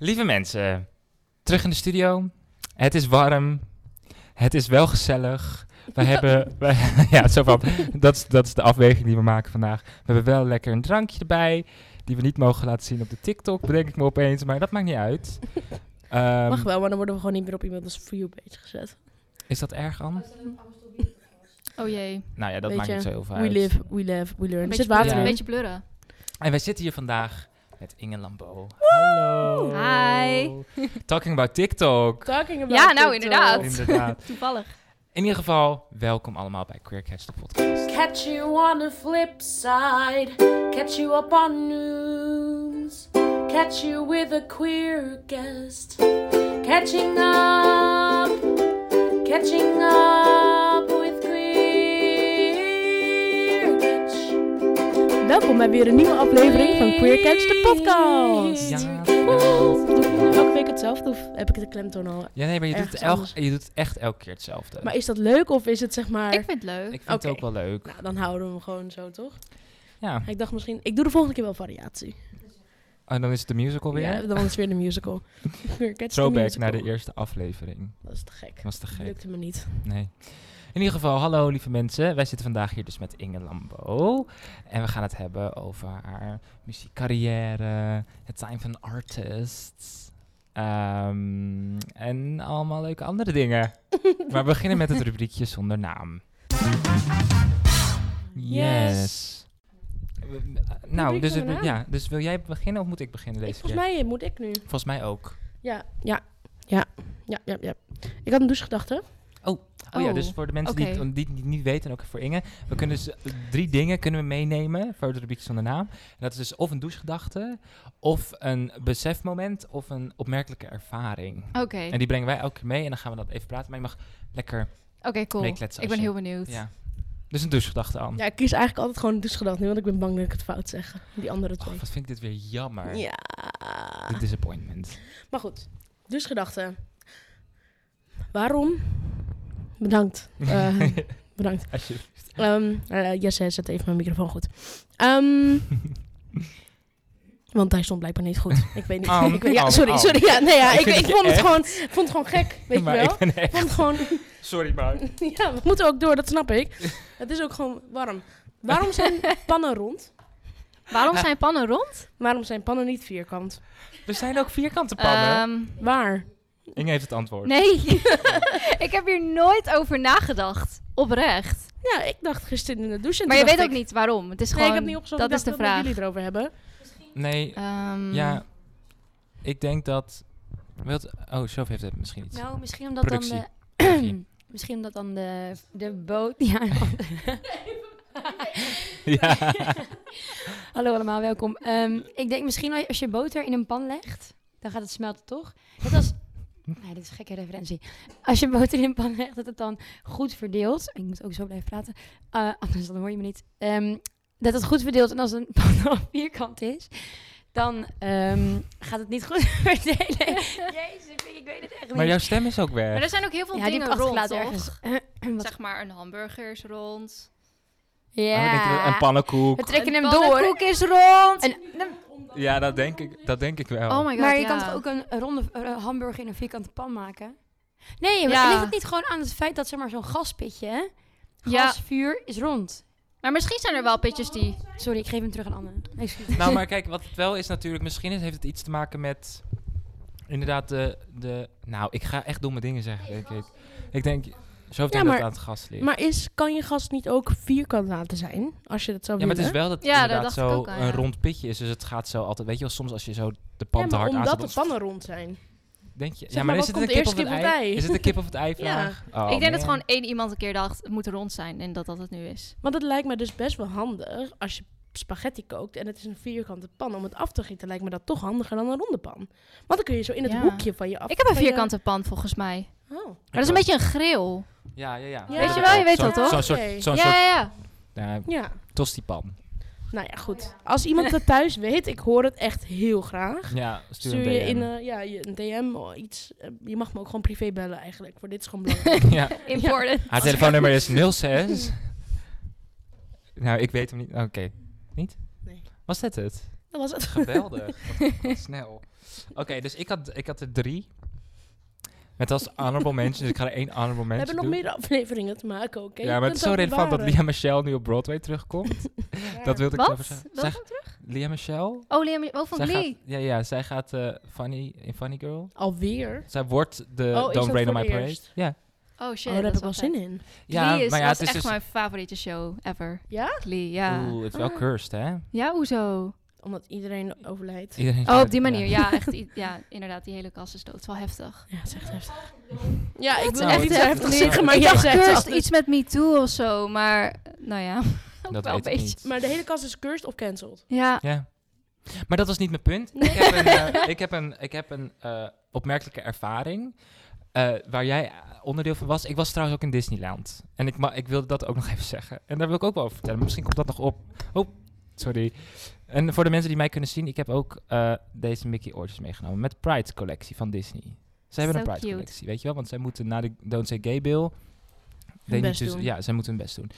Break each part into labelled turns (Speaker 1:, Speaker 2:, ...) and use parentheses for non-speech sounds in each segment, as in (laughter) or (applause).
Speaker 1: Lieve mensen, terug in de studio. Het is warm. Het is wel gezellig. We hebben. we- (laughs) ja, zo van. Dat is, dat is de afweging die we maken vandaag. We hebben wel lekker een drankje erbij. Die we niet mogen laten zien op de TikTok, bedenk ik me opeens. Maar dat maakt niet
Speaker 2: (laughs)
Speaker 1: uit. Ehm,
Speaker 2: Mag wel, maar dan worden we gewoon niet meer op iemand als for you page gezet.
Speaker 1: Is dat erg, Anne?
Speaker 3: Oh jee.
Speaker 1: Nou ja, dat
Speaker 2: Weet
Speaker 1: maakt
Speaker 2: je,
Speaker 1: niet zo heel veel
Speaker 2: We
Speaker 1: uit.
Speaker 2: live, we live, we learn.
Speaker 3: Een
Speaker 2: Er
Speaker 3: beetje,
Speaker 2: zit
Speaker 3: blurren,
Speaker 2: water
Speaker 1: blurren.
Speaker 3: een
Speaker 2: in.
Speaker 3: beetje blurren.
Speaker 1: En wij zitten hier vandaag met Inge Lambeau. Hallo.
Speaker 3: Hi.
Speaker 1: Talking about TikTok.
Speaker 2: Talking about
Speaker 3: Ja, nou,
Speaker 2: TikTok.
Speaker 3: inderdaad.
Speaker 1: Inderdaad.
Speaker 3: Toevallig.
Speaker 1: In ieder geval, welkom allemaal bij Queer Catch de podcast.
Speaker 2: Catch you on the flip side. Catch you up on news. Catch you with a queer guest. Catching up. Catching up with queer catch. Welkom bij weer een nieuwe aflevering van Queer Catch de podcast.
Speaker 1: Ja, ja.
Speaker 2: Elke week hetzelfde of heb ik de klemtoon al?
Speaker 1: Ja, nee, maar je doet, het
Speaker 2: Ergens
Speaker 1: elk,
Speaker 2: anders.
Speaker 1: je doet het echt elke keer hetzelfde.
Speaker 2: Maar is dat leuk of is het zeg maar...
Speaker 3: Ik vind het leuk.
Speaker 1: ik vind het
Speaker 2: oké.
Speaker 1: ook wel leuk.
Speaker 2: Nou, dan houden we hem gewoon zo, toch?
Speaker 1: Ja,
Speaker 2: Ik dacht misschien... Ik doe de volgende keer wel variatie.
Speaker 1: en Oh, dan is het de musical weer.
Speaker 2: Ja, dan is het weer de
Speaker 1: (laughs)
Speaker 2: musical. Weer Catch the
Speaker 1: Throwback
Speaker 2: musical.
Speaker 1: naar de eerste aflevering.
Speaker 2: Dat is te gek.
Speaker 1: Dat was te gek.
Speaker 2: Lukte me niet.
Speaker 1: Nee. In ieder geval, hallo lieve mensen. Wij zitten vandaag hier dus met Inge Lambo. En we gaan het hebben over haar muziekcarrière, het zijn van artists. ehm, en allemaal leuke andere
Speaker 2: (laughs)
Speaker 1: dingen. maar we beginnen met het rubriekje zonder naam.
Speaker 2: Yes.
Speaker 1: Yes. We- Nou, dus,
Speaker 2: zonder
Speaker 1: het- ja, dus wil jij beginnen of moet ik beginnen deze
Speaker 2: volgens
Speaker 1: keer?
Speaker 2: mij moet ik nu.
Speaker 1: Volgens mij ook.
Speaker 2: Ja, ja, ja, ja, ja, ja. Ik had een douchegedachte.
Speaker 1: Oh, ja,
Speaker 3: Oh,
Speaker 1: dus voor de mensen die,
Speaker 3: oké.
Speaker 1: het, die het niet weten, en ook voor Inge. We kunnen dus eh, drie dingen kunnen we meenemen voor het rubriekje zonder naam. En dat is dus of een douchegedachte, of een besefmoment, of een opmerkelijke ervaring.
Speaker 3: Oké,
Speaker 1: En die brengen wij elke keer mee en dan gaan we dat even praten. Maar je mag lekker,
Speaker 3: oké, cool.
Speaker 1: Nee, kletsen
Speaker 3: Ik
Speaker 1: als
Speaker 3: ben
Speaker 1: je-
Speaker 3: heel benieuwd.
Speaker 1: ja. Dus een douchegedachte, aan.
Speaker 2: Ja, ik kies eigenlijk altijd gewoon een douchegedachte nu, want ik ben bang dat ik het fout zeg. Die andere
Speaker 1: Och,
Speaker 2: twee.
Speaker 1: Oh, wat vind ik dit weer jammer.
Speaker 2: ja.
Speaker 1: De disappointment.
Speaker 2: Maar goed, douchegedachte. Waarom? Bedankt. Eh,
Speaker 1: (laughs)
Speaker 2: bedankt.
Speaker 1: Alsjeblieft.
Speaker 2: Ehm eh, Jesse, zet even mijn microfoon goed.
Speaker 1: (laughs)
Speaker 2: Ehm, want hij stond blijkbaar niet goed. Ik weet niet.
Speaker 1: Am,
Speaker 2: ik weet, ja,
Speaker 1: am,
Speaker 2: sorry,
Speaker 1: am.
Speaker 2: sorry. Ja, nee, ja,
Speaker 1: Ik
Speaker 2: ik,
Speaker 1: vind
Speaker 2: ik
Speaker 1: dat je
Speaker 2: vond, het
Speaker 1: echt-
Speaker 2: gewoon, ik vond het gewoon gek, weet
Speaker 1: maar
Speaker 2: je wel.
Speaker 1: ik ben echt...
Speaker 2: Ik vond (laughs) het gewoon,
Speaker 1: Sorry, maar...
Speaker 2: ja, we moeten ook door, dat snap ik. Het is ook gewoon warm. Waarom zijn pannen rond?
Speaker 3: Waarom zijn pannen rond?
Speaker 2: Waarom zijn pannen niet vierkant?
Speaker 1: Er zijn ook vierkante (laughs)
Speaker 2: Eh,
Speaker 1: pannen.
Speaker 3: Ehm,
Speaker 2: Waar?
Speaker 1: Inge heeft het antwoord.
Speaker 3: nee, (laughs) ik heb hier nooit over nagedacht. Oprecht.
Speaker 2: Ja, ik dacht gisteren in de douche. en
Speaker 3: Maar je
Speaker 2: toen
Speaker 3: weet ook
Speaker 2: dacht ik-
Speaker 3: niet waarom. Het is
Speaker 2: Nee,
Speaker 3: gewoon,
Speaker 2: ik heb niet opgezocht.
Speaker 3: dat is de vraag.
Speaker 2: jullie het erover hebben.
Speaker 1: Nee,
Speaker 3: Ehm, (laughs)
Speaker 1: ja. Ik denk dat... Wilt... Oh, Sof heeft het misschien iets.
Speaker 4: Nou, misschien omdat
Speaker 1: Productie.
Speaker 4: dan
Speaker 3: (clears throat)
Speaker 4: de... misschien omdat dan de, de boot... (laughs) Ja,
Speaker 1: ja.
Speaker 4: (laughs) Hallo allemaal, welkom. Ehm, ik denk misschien als je boter in een pan legt, dan gaat het smelten, toch? Net als...
Speaker 1: Hm?
Speaker 4: Nee, dit is een gekke referentie. Als je boter in een pan legt, dat het dan goed verdeelt. Ik moet ook zo blijven praten, eh, anders dan hoor je me niet. Ehm, dat het goed verdeelt en als een pan (laughs) dan vierkant is, dan ehm, gaat het niet goed (laughs) verdelen. Jezus, ik weet- ik weet het echt niet.
Speaker 1: Maar jouw stem is ook
Speaker 3: Maar
Speaker 1: weg.
Speaker 3: er zijn ook heel veel
Speaker 4: ja, die heb
Speaker 3: dingen
Speaker 4: ik
Speaker 3: rond,
Speaker 4: achtergelaten
Speaker 3: toch?
Speaker 4: ergens. (clears throat) Wat-
Speaker 3: Zeg maar, een hamburger is rond.
Speaker 4: Ja.
Speaker 1: Oh, ik denk dat- een
Speaker 4: We
Speaker 1: pannenkoek.
Speaker 4: trekken
Speaker 3: Een
Speaker 4: hem door.
Speaker 3: pannenkoek
Speaker 4: is rond.
Speaker 1: Ja, dat denk ik, dat denk ik wel.
Speaker 3: Oh my god,
Speaker 4: maar je
Speaker 3: ja.
Speaker 4: kan toch ook een een ronde eh, hamburger in een vierkante pan maken? Nee, maar
Speaker 3: Ja.
Speaker 4: ligt het niet gewoon aan het feit dat zeg maar zo'n gaspitje, hè?
Speaker 3: Ja.
Speaker 4: gasvuur is rond.
Speaker 3: Maar misschien zijn er wel pitjes die...
Speaker 4: Sorry, ik geef hem terug aan Anne. (laughs) Excuus.
Speaker 1: Nou, maar kijk, wat het wel is natuurlijk... Misschien is- heeft het iets te maken met... Inderdaad, de... de nou, ik ga echt domme dingen zeggen, denk ik. Ik denk... Zo heeft
Speaker 2: Ja,
Speaker 1: dat
Speaker 2: maar-
Speaker 1: het aan het gas ligt.
Speaker 2: Maar is, kan je gas niet ook vierkant laten zijn? Als je dat zou
Speaker 1: ja, maar
Speaker 2: willen?
Speaker 1: het is wel dat het
Speaker 3: Ja, dat
Speaker 1: inderdaad
Speaker 3: dacht ik
Speaker 1: zo
Speaker 3: ook aan,
Speaker 1: een
Speaker 3: ja.
Speaker 1: rond pitje is. Dus het gaat zo altijd... Weet je wel, soms als je zo de pan
Speaker 2: Ja,
Speaker 1: te
Speaker 2: maar
Speaker 1: hard
Speaker 2: omdat
Speaker 1: aanzet... dan-
Speaker 2: de pannen rond zijn.
Speaker 1: Denk je, ja,
Speaker 2: maar,
Speaker 1: maar is
Speaker 2: wat
Speaker 1: het
Speaker 2: komt
Speaker 1: een kip
Speaker 2: eerst,
Speaker 1: of het
Speaker 2: kip of
Speaker 1: ei?
Speaker 2: het ei?
Speaker 1: Is het een kip of het
Speaker 2: (laughs)
Speaker 1: ei vraag? Oh,
Speaker 3: ik denk dat
Speaker 1: man.
Speaker 3: gewoon één iemand een keer dacht, het moet rond zijn. En dat dat het nu is.
Speaker 2: Want het lijkt me dus best wel handig als je spaghetti kookt en het is een vierkante pan. Om het af te gieten lijkt me dat toch handiger dan een ronde pan. Want dan kun je zo in het
Speaker 3: Ja.
Speaker 2: hoekje van je af.
Speaker 3: Ik heb een
Speaker 2: van je-
Speaker 3: vierkante pan, volgens mij.
Speaker 2: Oh.
Speaker 3: Maar dat is een beetje een grill.
Speaker 1: Ja, ja, ja.
Speaker 2: Weet je
Speaker 1: ik
Speaker 2: wel,
Speaker 1: ook.
Speaker 3: je weet
Speaker 1: Zo'n-
Speaker 3: dat, toch?
Speaker 1: Zo'n soort,
Speaker 2: Oké.
Speaker 1: zo'n
Speaker 3: ja,
Speaker 1: soort
Speaker 3: ja,
Speaker 2: (laughs)
Speaker 3: ja.
Speaker 1: ja,
Speaker 2: Ja,
Speaker 1: tostipan.
Speaker 2: nou ja,
Speaker 3: Oh,
Speaker 2: goed. Als iemand
Speaker 3: (laughs)
Speaker 2: dat thuis weet, ik hoor het echt heel graag.
Speaker 1: Ja, stuur,
Speaker 2: Stuur je
Speaker 1: een
Speaker 2: in
Speaker 1: (laughs) DM.
Speaker 2: eh, ja, je- een DM of iets. eh, Je mag me ook gewoon privé bellen eigenlijk. Voor dit
Speaker 3: (laughs)
Speaker 2: is gewoon belangrijk.
Speaker 1: ja.
Speaker 2: (laughs)
Speaker 3: Important.
Speaker 1: Haar telefoonnummer is 06. nou, ik weet hem niet. Oké. Niet?
Speaker 2: Nee.
Speaker 1: Was dit het?
Speaker 2: dat was het.
Speaker 1: (laughs) Geweldig. Wat- wat snel. Oké, dus ik had, ik had er drie. Met als honorable mention, dus ik ga er één honorable
Speaker 2: We
Speaker 1: mention
Speaker 2: hebben nog
Speaker 1: doen.
Speaker 2: meer afleveringen te maken, oké?
Speaker 1: ja,
Speaker 2: Je
Speaker 1: maar het is zo
Speaker 2: kunt ook
Speaker 1: relevant dat
Speaker 2: bewaren.
Speaker 1: Lia Michelle nu op Broadway terugkomt. (laughs) Dat wilde ik
Speaker 3: Wat?
Speaker 1: even zeggen.
Speaker 3: Wat?
Speaker 1: Zeg, Lia Michelle?
Speaker 3: Oh, Liam, oh, van
Speaker 1: Zij
Speaker 3: Glee.
Speaker 1: gaat, ja, ja, zij gaat eh, funny, in Funny Girl.
Speaker 2: Alweer?
Speaker 1: Zij wordt de
Speaker 2: is dat
Speaker 1: Don't Rain on
Speaker 2: voor
Speaker 1: My
Speaker 2: het
Speaker 1: Parade.
Speaker 2: eerst?
Speaker 1: Ja.
Speaker 3: Oh shit,
Speaker 2: Oh, daar heb
Speaker 3: dat is
Speaker 2: ik wel
Speaker 3: vet.
Speaker 2: zin in.
Speaker 1: ja,
Speaker 3: Glee is,
Speaker 1: maar ja,
Speaker 3: was
Speaker 1: het is
Speaker 3: echt
Speaker 1: dus...
Speaker 3: mijn favoriete show ever.
Speaker 2: Ja?
Speaker 3: Glee, ja.
Speaker 1: Oeh, het is wel
Speaker 2: Ah.
Speaker 1: cursed, hè?
Speaker 3: Ja, hoezo?
Speaker 2: Omdat iedereen overlijdt.
Speaker 1: Iedereen
Speaker 3: Oh, op
Speaker 1: gaat-
Speaker 3: Oh, die manier.
Speaker 1: ja. (laughs)
Speaker 3: Ja, echt, i- ja inderdaad. Die hele kast is dood. Het is wel heftig.
Speaker 2: Ja, het is echt heftig. Ja, ik wil
Speaker 1: Nou,
Speaker 2: echt iets
Speaker 1: het is
Speaker 2: heftigs
Speaker 1: echt-
Speaker 2: zeggen, maar
Speaker 1: Ik
Speaker 2: jij
Speaker 1: dacht
Speaker 2: zegt
Speaker 3: Cursed,
Speaker 2: altijd-
Speaker 3: iets met Me Too of zo. Maar, eh, nou ja. Ook
Speaker 1: (laughs) Dat
Speaker 3: wel
Speaker 1: weet
Speaker 3: een
Speaker 1: ik
Speaker 3: beetje.
Speaker 1: niet.
Speaker 2: Maar de hele kast is cursed of cancelled.
Speaker 3: Ja.
Speaker 1: Ja. Maar dat was niet mijn punt. Ik heb
Speaker 3: (laughs)
Speaker 1: een, eh, ik heb een, ik heb een eh, opmerkelijke ervaring. eh, waar jij eh, onderdeel van was. Ik was trouwens ook in Disneyland. En ik, ma- ik wilde dat ook nog even zeggen. En daar wil ik ook wel over vertellen. Misschien komt dat nog op. Oh, sorry. En voor de mensen die mij kunnen zien, ik heb ook eh, deze Mickey oortjes meegenomen. Met Pride collectie van Disney. Ze hebben
Speaker 3: So
Speaker 1: een Pride
Speaker 3: cute.
Speaker 1: collectie, weet je wel? Want zij moeten na de Don't Say Gay Bill. They need
Speaker 2: best
Speaker 1: to-
Speaker 2: doen.
Speaker 1: Ja, zij moeten hun best doen.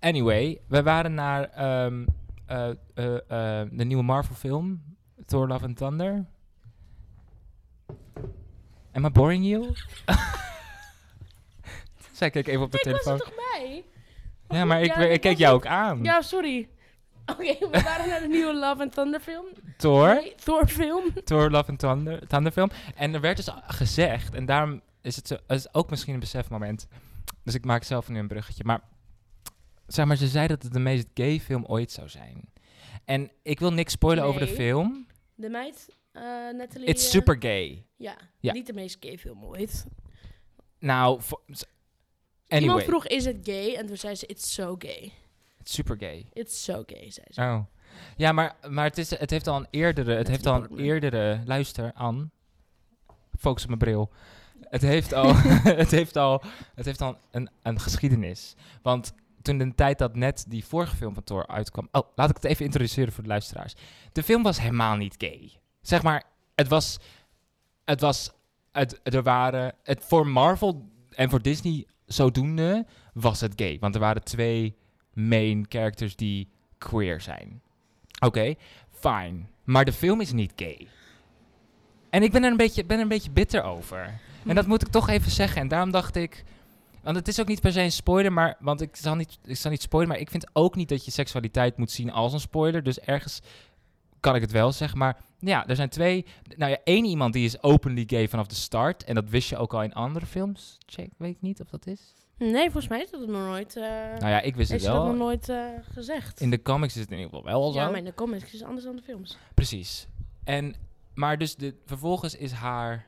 Speaker 1: Anyway, wij waren naar ehm, eh, eh, eh, de nieuwe Marvel film, Thor Love and Thunder. Am I boring you? (laughs) Zij keek even op de
Speaker 2: Ik was
Speaker 1: telefoon. Hm.
Speaker 2: er toch bij?
Speaker 1: Ja, maar ik,
Speaker 2: Ja,
Speaker 1: we- ik
Speaker 2: ik
Speaker 1: keek
Speaker 2: was
Speaker 1: jou ook aan.
Speaker 2: Ja, sorry. Oké, (laughs) we waren naar de nieuwe Love and Thunder film.
Speaker 1: Thor,
Speaker 2: Nee, Thor film.
Speaker 1: Thor Love and Thunder, Thunder film. En er werd dus a- gezegd, en daarom is het zo, is ook misschien een besefmoment. Dus ik maak zelf nu een bruggetje. Maar zeg maar, ze zei dat het de meest gay film ooit zou zijn. En ik wil niks spoilen over de
Speaker 2: Nee.
Speaker 1: film.
Speaker 2: De meid, eh Natalie.
Speaker 1: It's
Speaker 2: eh,
Speaker 1: super gay.
Speaker 2: Ja,
Speaker 1: Ja.
Speaker 2: niet de meest gay film ooit.
Speaker 1: Nou, vo- s- anyway,
Speaker 2: Iemand vroeg, is het gay? En toen zei ze, it's so gay.
Speaker 1: it's super gay.
Speaker 2: It's so gay, zei ze.
Speaker 1: Oh. Ja, maar, maar het, is, het heeft al een eerdere... Het
Speaker 2: Natalie
Speaker 1: heeft al een
Speaker 2: Portman.
Speaker 1: eerdere... Luister, Anne. Focus op mijn bril. Het heeft al, (laughs) het heeft al, het heeft al een, een geschiedenis. Want toen de tijd dat net die vorige film van Thor uitkwam... Oh, laat ik het even introduceren voor de luisteraars. De film was helemaal niet gay. Zeg maar, het was... Het was... Het, er waren... Het, voor Marvel en voor Disney zodoende was het gay. Want er waren twee main characters die queer zijn. Oké, fine. Maar de film is niet gay. En ik ben er een beetje, ben er een beetje bitter over. En
Speaker 2: Hm.
Speaker 1: dat moet ik toch even zeggen. En daarom dacht ik. Want het is ook niet per se een spoiler, maar. Want ik zal niet, ik zal niet spoilen. Maar ik vind ook niet dat je seksualiteit moet zien als een spoiler. Dus ergens kan ik het wel zeggen. Maar ja, er zijn twee. Nou ja, één iemand die is openly gay vanaf de start. En dat wist je ook al in andere films. Check, weet ik niet of dat is.
Speaker 2: Nee, volgens mij is dat nog nooit... eh
Speaker 1: Nou ja, ik wist het
Speaker 2: heeft ze dat
Speaker 1: wel.
Speaker 2: nog nooit eh, gezegd.
Speaker 1: In de comics is het in ieder geval wel zo.
Speaker 2: ja, maar in de comics is het anders dan de films.
Speaker 1: Precies. En, maar dus de, vervolgens is haar...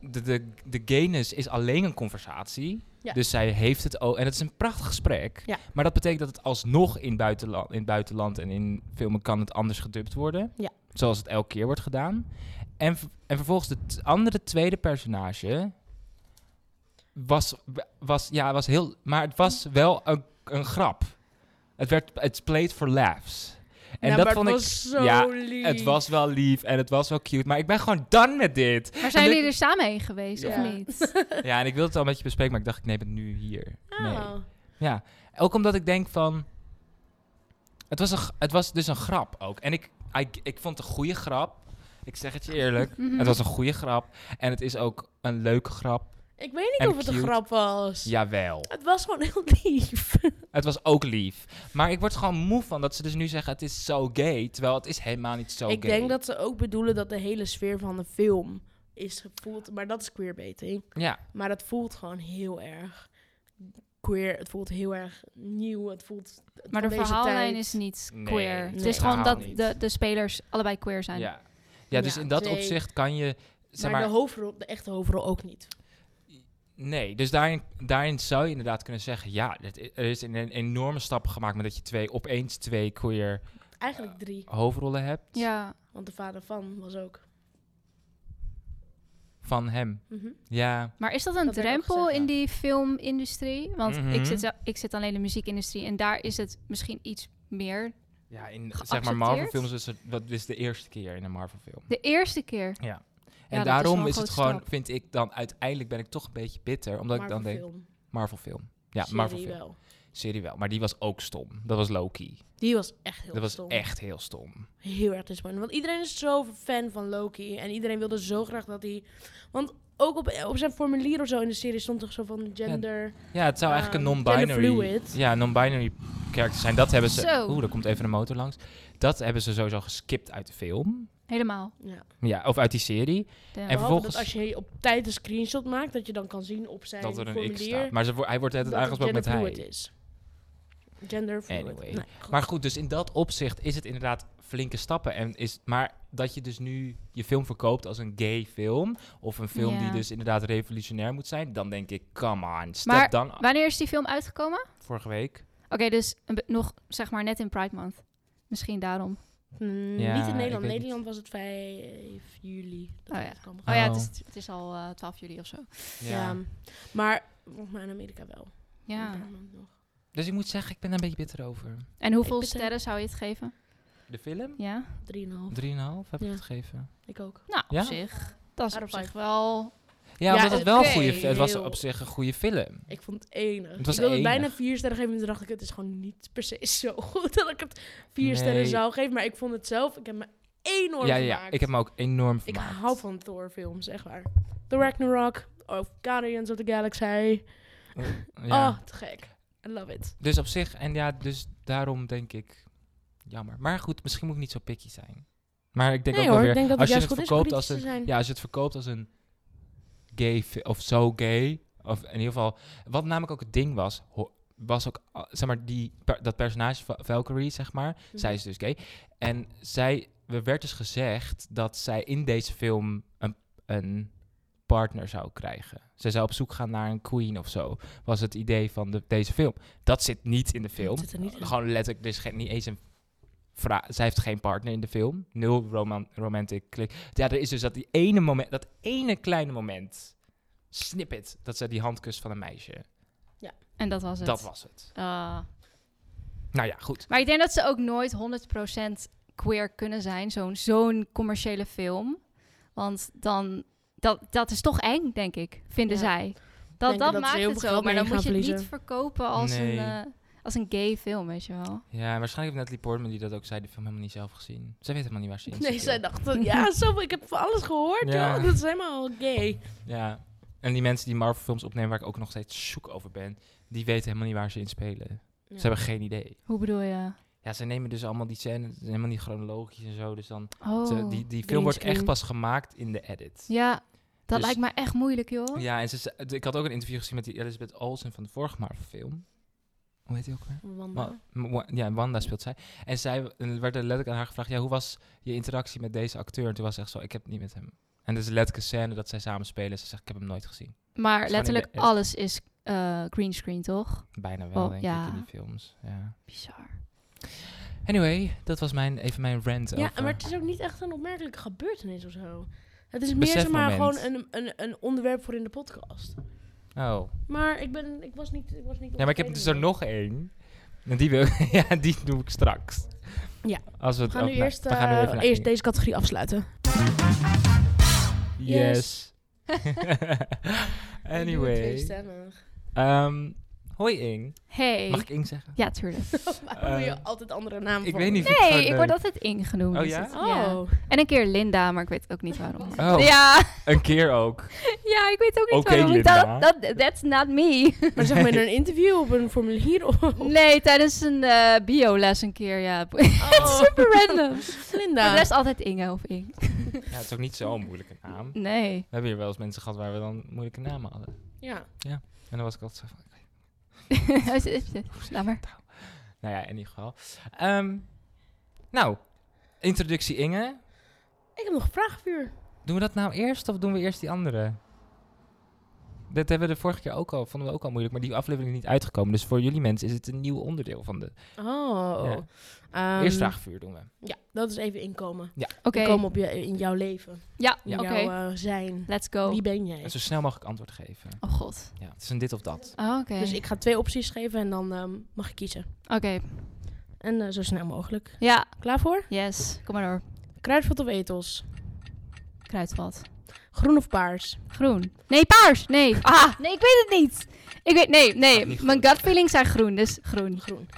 Speaker 1: De, de, de gayness is alleen een conversatie.
Speaker 2: Ja.
Speaker 1: Dus zij heeft het ook... En het is een prachtig gesprek.
Speaker 2: Ja.
Speaker 1: Maar dat betekent dat het alsnog in, buitenland, in het buitenland en in filmen kan het anders gedubt worden.
Speaker 2: Ja.
Speaker 1: Zoals het elke keer wordt gedaan. En, ver- en vervolgens het andere tweede personage... Was, was, ja, was heel... Maar het was wel een, een grap. Het werd... It's played for laughs. En
Speaker 2: ja,
Speaker 1: dat
Speaker 2: maar
Speaker 1: vond
Speaker 2: het
Speaker 1: ik...
Speaker 2: was zo
Speaker 1: ja,
Speaker 2: lief.
Speaker 1: Het was wel lief en het was wel cute, maar ik ben gewoon done met
Speaker 2: (laughs)
Speaker 1: dit.
Speaker 3: Maar zijn
Speaker 1: En
Speaker 3: jullie er samen heen geweest,
Speaker 2: Ja.
Speaker 3: of
Speaker 2: (laughs)
Speaker 3: niet?
Speaker 1: Ja, en ik wilde het al met je bespreken, maar ik dacht, ik neem het nu hier. Nee.
Speaker 2: Oh.
Speaker 1: Ja, ook omdat ik denk van... Het was, een, g- het was dus een grap ook. En ik, ik, ik vond het een goede grap. Ik zeg het je
Speaker 2: (laughs)
Speaker 1: eerlijk.
Speaker 3: Mhm.
Speaker 1: Het was een goede grap. En het is ook een leuke grap.
Speaker 2: Ik weet niet
Speaker 1: En
Speaker 2: of het een
Speaker 1: cute.
Speaker 2: grap was.
Speaker 1: Jawel.
Speaker 2: Het was gewoon heel (laughs) lief.
Speaker 1: Het was ook lief. Maar ik word gewoon moe van dat ze dus nu zeggen, het is zo gay. Terwijl het is helemaal niet zo
Speaker 2: Ik
Speaker 1: gay.
Speaker 2: denk dat ze ook bedoelen dat de hele sfeer van de film is gevoeld. Maar dat is queerbaiting.
Speaker 1: Ja,
Speaker 2: Maar het voelt gewoon heel erg queer. Het voelt heel erg nieuw. Het voelt
Speaker 3: maar
Speaker 2: van
Speaker 3: de
Speaker 2: deze
Speaker 3: verhaallijn
Speaker 2: tijd.
Speaker 3: is niet
Speaker 1: Nee,
Speaker 3: queer.
Speaker 1: nee,
Speaker 3: het is
Speaker 1: verhaal
Speaker 3: gewoon dat
Speaker 1: niet.
Speaker 3: de, de spelers allebei queer zijn.
Speaker 1: ja. ja dus
Speaker 2: Ja,
Speaker 1: in dat
Speaker 2: twee.
Speaker 1: opzicht kan je... Zeg
Speaker 2: maar
Speaker 1: maar,
Speaker 2: de hoofdrol, de echte hoofdrol ook niet.
Speaker 1: Nee, dus daarin, daarin zou je inderdaad kunnen zeggen... ja, dit i- er is een, een enorme stap gemaakt... met dat je twee, opeens twee queer
Speaker 2: Eigenlijk drie.
Speaker 1: hoofdrollen hebt
Speaker 3: Ja.
Speaker 2: Want de vader van was ook.
Speaker 1: van hem.
Speaker 2: Mhm.
Speaker 1: Ja,
Speaker 3: Maar is dat een
Speaker 2: Dat werd ook
Speaker 3: drempel
Speaker 2: gezegd, ja.
Speaker 3: in die filmindustrie? Want
Speaker 1: Mhm.
Speaker 3: ik, zit, zo- ik zit alleen in de muziekindustrie en daar is het misschien iets meer.
Speaker 1: ja in zeg maar
Speaker 3: Geaccepteerd?
Speaker 1: Marvel-films is het, dat is de eerste keer in een Marvel-film.
Speaker 3: De eerste keer.
Speaker 1: Ja.
Speaker 3: Ja,
Speaker 1: En
Speaker 3: dat is wel
Speaker 1: daarom
Speaker 3: een
Speaker 1: is, het
Speaker 3: grote
Speaker 1: gewoon,
Speaker 3: stap.
Speaker 1: vind ik dan... uiteindelijk ben ik toch een beetje bitter... omdat ik dan denk,
Speaker 2: Marvel-film.
Speaker 1: Marvel-film. Ja,
Speaker 2: Serie
Speaker 1: Marvel-film.
Speaker 2: wel.
Speaker 1: serie wel. Maar die was ook stom. Dat was Loki.
Speaker 2: Die was echt heel
Speaker 1: dat was
Speaker 2: stom.
Speaker 1: echt heel stom.
Speaker 2: heel erg disappointing. Want iedereen is zo fan van Loki. En iedereen wilde zo graag dat hij... Want ook op, op zijn formulier of zo in de serie stond toch zo van gender...
Speaker 1: Ja, het zou
Speaker 2: Ehm,
Speaker 1: eigenlijk een non-binary
Speaker 2: genderfluid.
Speaker 1: ja, non character zijn. Dat hebben ze...
Speaker 3: Zo.
Speaker 1: Oeh, er komt even een motor langs. Dat hebben ze sowieso geskipt uit de film.
Speaker 3: Helemaal.
Speaker 2: Ja.
Speaker 1: Ja, of uit die serie.
Speaker 3: Damn.
Speaker 1: En
Speaker 2: Behalve
Speaker 1: vervolgens-
Speaker 2: dat als je op tijd een screenshot maakt, dat je dan kan zien op zijn
Speaker 1: dat er een
Speaker 2: formulier...
Speaker 1: X staat. Maar ze, wo- hij wordt het aangesproken met hij.
Speaker 2: genderfluid is. Gender fluid.
Speaker 1: Anyway.
Speaker 2: Nee, goed.
Speaker 1: Maar goed, dus in dat opzicht is het inderdaad flinke stappen. En is, maar dat je dus nu je film verkoopt als een gay film... of een film die
Speaker 3: Ja.
Speaker 1: dus inderdaad revolutionair moet zijn... dan denk ik, come on, step
Speaker 3: Maar
Speaker 1: dan af.
Speaker 3: Wanneer is die film uitgekomen?
Speaker 1: Vorige week.
Speaker 3: Oké, dus een be- nog zeg maar net in Pride Month. Misschien daarom.
Speaker 2: Mm,
Speaker 1: Ja,
Speaker 2: niet in
Speaker 1: ik
Speaker 2: Nederland.
Speaker 1: weet
Speaker 2: Nederland was het 5 juli. Dat
Speaker 3: Oh ja.
Speaker 2: het kwam.
Speaker 3: Oh, ja, het
Speaker 1: Oh.
Speaker 3: is, het is al eh, 12 juli of zo.
Speaker 2: Ja. Maar volgens mij in Amerika wel.
Speaker 3: Ja.
Speaker 2: Een paar maanden nog.
Speaker 1: Dus ik moet zeggen, ik ben daar een beetje bitter over.
Speaker 3: En hoeveel
Speaker 2: Ik beten-
Speaker 3: sterren zou je het geven?
Speaker 1: De film?
Speaker 3: Ja.
Speaker 2: 3,5.
Speaker 1: 3,5 heb ik
Speaker 2: Ja.
Speaker 1: het gegeven.
Speaker 2: Ik ook.
Speaker 3: Nou,
Speaker 1: Ja?
Speaker 3: op zich. Dat is
Speaker 2: Out
Speaker 3: op
Speaker 2: of
Speaker 3: zich
Speaker 2: five.
Speaker 3: wel...
Speaker 1: Ja, omdat het wel een goede
Speaker 2: oké,
Speaker 1: fi- Het was
Speaker 2: heel-
Speaker 1: op zich een goede film.
Speaker 2: Ik vond het enig.
Speaker 1: Het was
Speaker 2: ik wilde
Speaker 1: enig.
Speaker 2: bijna vier sterren geven. En toen dacht ik, het is gewoon niet per se (laughs) zo goed dat ik het vier
Speaker 1: Nee.
Speaker 2: sterren zou geven. Maar ik vond het zelf, ik heb me enorm
Speaker 1: Ja, ja, ja,
Speaker 2: vermaakt.
Speaker 1: ik heb me ook enorm
Speaker 2: Ik
Speaker 1: vermaakt.
Speaker 2: hou van Thor films, echt waar. The Ragnarok, of Guardians of the Galaxy.
Speaker 1: Ja.
Speaker 2: Oh, te gek. I love it.
Speaker 1: Dus op zich, en ja, dus daarom denk ik... Jammer. Maar goed, misschien moet ik niet zo picky zijn. Maar ik denk
Speaker 2: nee
Speaker 1: ook
Speaker 2: hoor,
Speaker 1: wel
Speaker 2: ik
Speaker 1: weer...
Speaker 2: denk
Speaker 1: als
Speaker 2: dat het
Speaker 1: je
Speaker 2: juist
Speaker 1: het
Speaker 2: goed is om
Speaker 1: verkoopt als
Speaker 2: kritisch te
Speaker 1: een...
Speaker 2: zijn.
Speaker 1: Ja, als je het verkoopt als een gay fi- of zo gay... Of in ieder geval... Wat namelijk ook het ding was... ho- was ook, a- zeg maar, die, per- dat personage Va- Valkyrie, zeg maar...
Speaker 2: Mhm.
Speaker 1: Zij is dus gay. En zij, er werd dus gezegd dat zij in deze film een, een partner zou krijgen. Zij zou op zoek gaan naar een queen of zo. Was het idee van de, deze film. Dat zit niet in de film.
Speaker 2: zit er niet in.
Speaker 1: Gewoon letterlijk, er is geen, niet eens een vra- Zij heeft geen partner in de film. Nul roman romantic klik. Ja, er is dus dat die ene moment, dat ene kleine moment, snippet, dat zij die hand kust van een meisje.
Speaker 3: En dat was het.
Speaker 1: Dat was het.
Speaker 3: Ah.
Speaker 1: Nou ja, goed.
Speaker 3: Maar ik denk dat ze ook nooit 100% queer kunnen zijn, zo'n zo'n commerciële film. Want dan, dat, dat is toch eng, denk ik, vinden
Speaker 2: Ja.
Speaker 3: zij.
Speaker 2: denk
Speaker 3: Dat,
Speaker 2: ook
Speaker 3: dat
Speaker 2: dat ze
Speaker 3: maakt
Speaker 2: heel
Speaker 3: het
Speaker 2: veel
Speaker 3: zo,
Speaker 2: geld
Speaker 3: maar dan
Speaker 2: mee
Speaker 3: moet je
Speaker 2: gaan
Speaker 3: het niet
Speaker 2: verliezen.
Speaker 3: verkopen als,
Speaker 1: Nee.
Speaker 3: een, eh, als een gay film, weet je wel.
Speaker 1: Ja, en waarschijnlijk heeft Natalie Portman, die dat ook zei, de film helemaal niet zelf gezien. Zij weet helemaal niet waar ze in zit,
Speaker 2: Nee,
Speaker 1: joh.
Speaker 2: zij dacht, dat- ja, (laughs) zo, ik heb van alles gehoord.
Speaker 1: Ja.
Speaker 2: joh. dat is helemaal gay.
Speaker 1: Ja, en die mensen die Marvel films opnemen, waar ik ook nog steeds zoek over ben, die weten helemaal niet waar ze in spelen. Ze hebben geen idee.
Speaker 3: Hoe bedoel je?
Speaker 1: Ja, ze nemen dus allemaal die scènes, helemaal niet chronologisch en zo. Dus dan,
Speaker 3: Oh,
Speaker 1: ze- die, die film
Speaker 2: green
Speaker 1: wordt echt
Speaker 2: screen.
Speaker 1: pas gemaakt in de edit.
Speaker 3: ja, dat
Speaker 1: Dus-
Speaker 3: lijkt me echt moeilijk, joh.
Speaker 1: Ja, en ze, ze- ik had ook een interview gezien met die Elizabeth Olsen van de vorige Marvel film. Hoe heet die ook weer?
Speaker 2: Wanda.
Speaker 1: Wa- Wa- Ja, Wanda speelt zij. En zij en werd er letterlijk aan haar gevraagd: ja, hoe was je interactie met deze acteur? En toen was ze echt zo: ik heb het niet met hem. En dat is letterlijk een scène dat zij samen spelen. Ze zegt: ik heb hem nooit gezien.
Speaker 3: Maar
Speaker 1: is gewoon in
Speaker 3: letterlijk
Speaker 1: de edit.
Speaker 3: alles is eh green screen, toch?
Speaker 1: Bijna wel,
Speaker 3: Oh,
Speaker 1: denk
Speaker 3: ja.
Speaker 1: ik, in die films. Ja.
Speaker 3: Bizar.
Speaker 1: Anyway, dat was mijn, even mijn rant
Speaker 2: Ja,
Speaker 1: over.
Speaker 2: maar het is ook niet echt een opmerkelijke gebeurtenis of zo. Het is meer
Speaker 1: Besefmoment.
Speaker 2: zeg maar gewoon een, een, een onderwerp voor in de podcast.
Speaker 1: Oh.
Speaker 2: Maar ik, ben, ik was niet. Ik was niet
Speaker 1: Ja, maar ik heb dus er nog één. En die wil (laughs) ja, die doe ik straks.
Speaker 2: Ja.
Speaker 1: Als we,
Speaker 2: We
Speaker 1: het
Speaker 2: gaan nu
Speaker 1: ook- nou,
Speaker 2: eerst,
Speaker 1: we gaan nu
Speaker 2: eh,
Speaker 1: even naar
Speaker 2: eerst
Speaker 1: één.
Speaker 2: deze categorie afsluiten.
Speaker 1: (laughs)
Speaker 2: (laughs)
Speaker 1: Yes.
Speaker 2: Twee
Speaker 1: anyway.
Speaker 2: stemmen. (laughs)
Speaker 1: Ehm, hoi Ing.
Speaker 3: Hey.
Speaker 1: Mag ik Ing zeggen?
Speaker 3: Ja, tuurlijk.
Speaker 2: Waarom doe je altijd andere namen
Speaker 1: (laughs) Eh, Ik
Speaker 2: voor?
Speaker 1: weet niet. vind het
Speaker 3: Nee,
Speaker 1: gewoon
Speaker 3: ik word
Speaker 1: leuk.
Speaker 3: altijd Ing genoemd.
Speaker 1: Oh
Speaker 3: dus
Speaker 1: ja?
Speaker 3: het-
Speaker 2: Oh.
Speaker 3: En een keer Linda, maar ik weet ook niet waarom.
Speaker 1: Oh,
Speaker 3: Ja, (laughs)
Speaker 1: een keer ook.
Speaker 3: ja, ik weet ook niet
Speaker 1: Oké,
Speaker 3: waarom.
Speaker 1: Linda.
Speaker 3: Dat, dat, that's not
Speaker 2: (laughs)
Speaker 3: me.
Speaker 2: Maar zeg maar in een interview op een formulier of...
Speaker 3: Nee, tijdens een eh bioles een keer, ja. (laughs)
Speaker 2: Oh.
Speaker 3: Super
Speaker 2: (laughs)
Speaker 3: random.
Speaker 2: Linda.
Speaker 3: De rest altijd Inge of Ing.
Speaker 1: Ja, het is ook niet zo'n moeilijke naam. We
Speaker 3: Nee. (laughs)
Speaker 1: hebben hier wel eens mensen gehad waar we dan moeilijke namen hadden.
Speaker 2: Ja.
Speaker 1: En dan was ik altijd zo van,
Speaker 3: Laat maar.
Speaker 1: nou ja, in ieder geval. Ehm, nou, introductie Inge.
Speaker 2: Ik heb nog een vraag voor u.
Speaker 1: Doen we dat nou eerst of doen we eerst die andere? Dat hebben we de vorige keer ook al, vonden we ook al moeilijk, maar die aflevering is niet uitgekomen. Dus voor jullie mensen is het een nieuw onderdeel van de...
Speaker 2: Oh. Ehm,
Speaker 1: Eerst vraagvuur doen we.
Speaker 2: Ja, dat is even inkomen.
Speaker 3: Oké.
Speaker 2: Inkomen op je, in jouw leven.
Speaker 3: Ja,
Speaker 2: In
Speaker 3: oké. Oh.
Speaker 2: jouw eh, zijn.
Speaker 3: Let's go.
Speaker 2: Wie ben jij?
Speaker 1: En zo snel mogelijk antwoord geven.
Speaker 3: Oh god.
Speaker 1: Ja, het is een dit of dat.
Speaker 3: Oh, oké.
Speaker 2: Dus ik ga twee opties geven en dan ehm, mag je kiezen.
Speaker 3: Oké.
Speaker 2: En eh, zo snel mogelijk.
Speaker 3: Ja,
Speaker 2: Klaar voor?
Speaker 3: yes. Kom maar door.
Speaker 2: Kruidvat of etels?
Speaker 3: Kruidvat.
Speaker 2: Groen of paars?
Speaker 3: Groen. Nee, paars. Nee. Ah, nee, ik weet het niet. Ik weet, nee, nee.
Speaker 1: Gaat niet
Speaker 3: Mijn gut feelings zijn groen, dus
Speaker 1: (laughs)
Speaker 3: groen.
Speaker 2: Groen.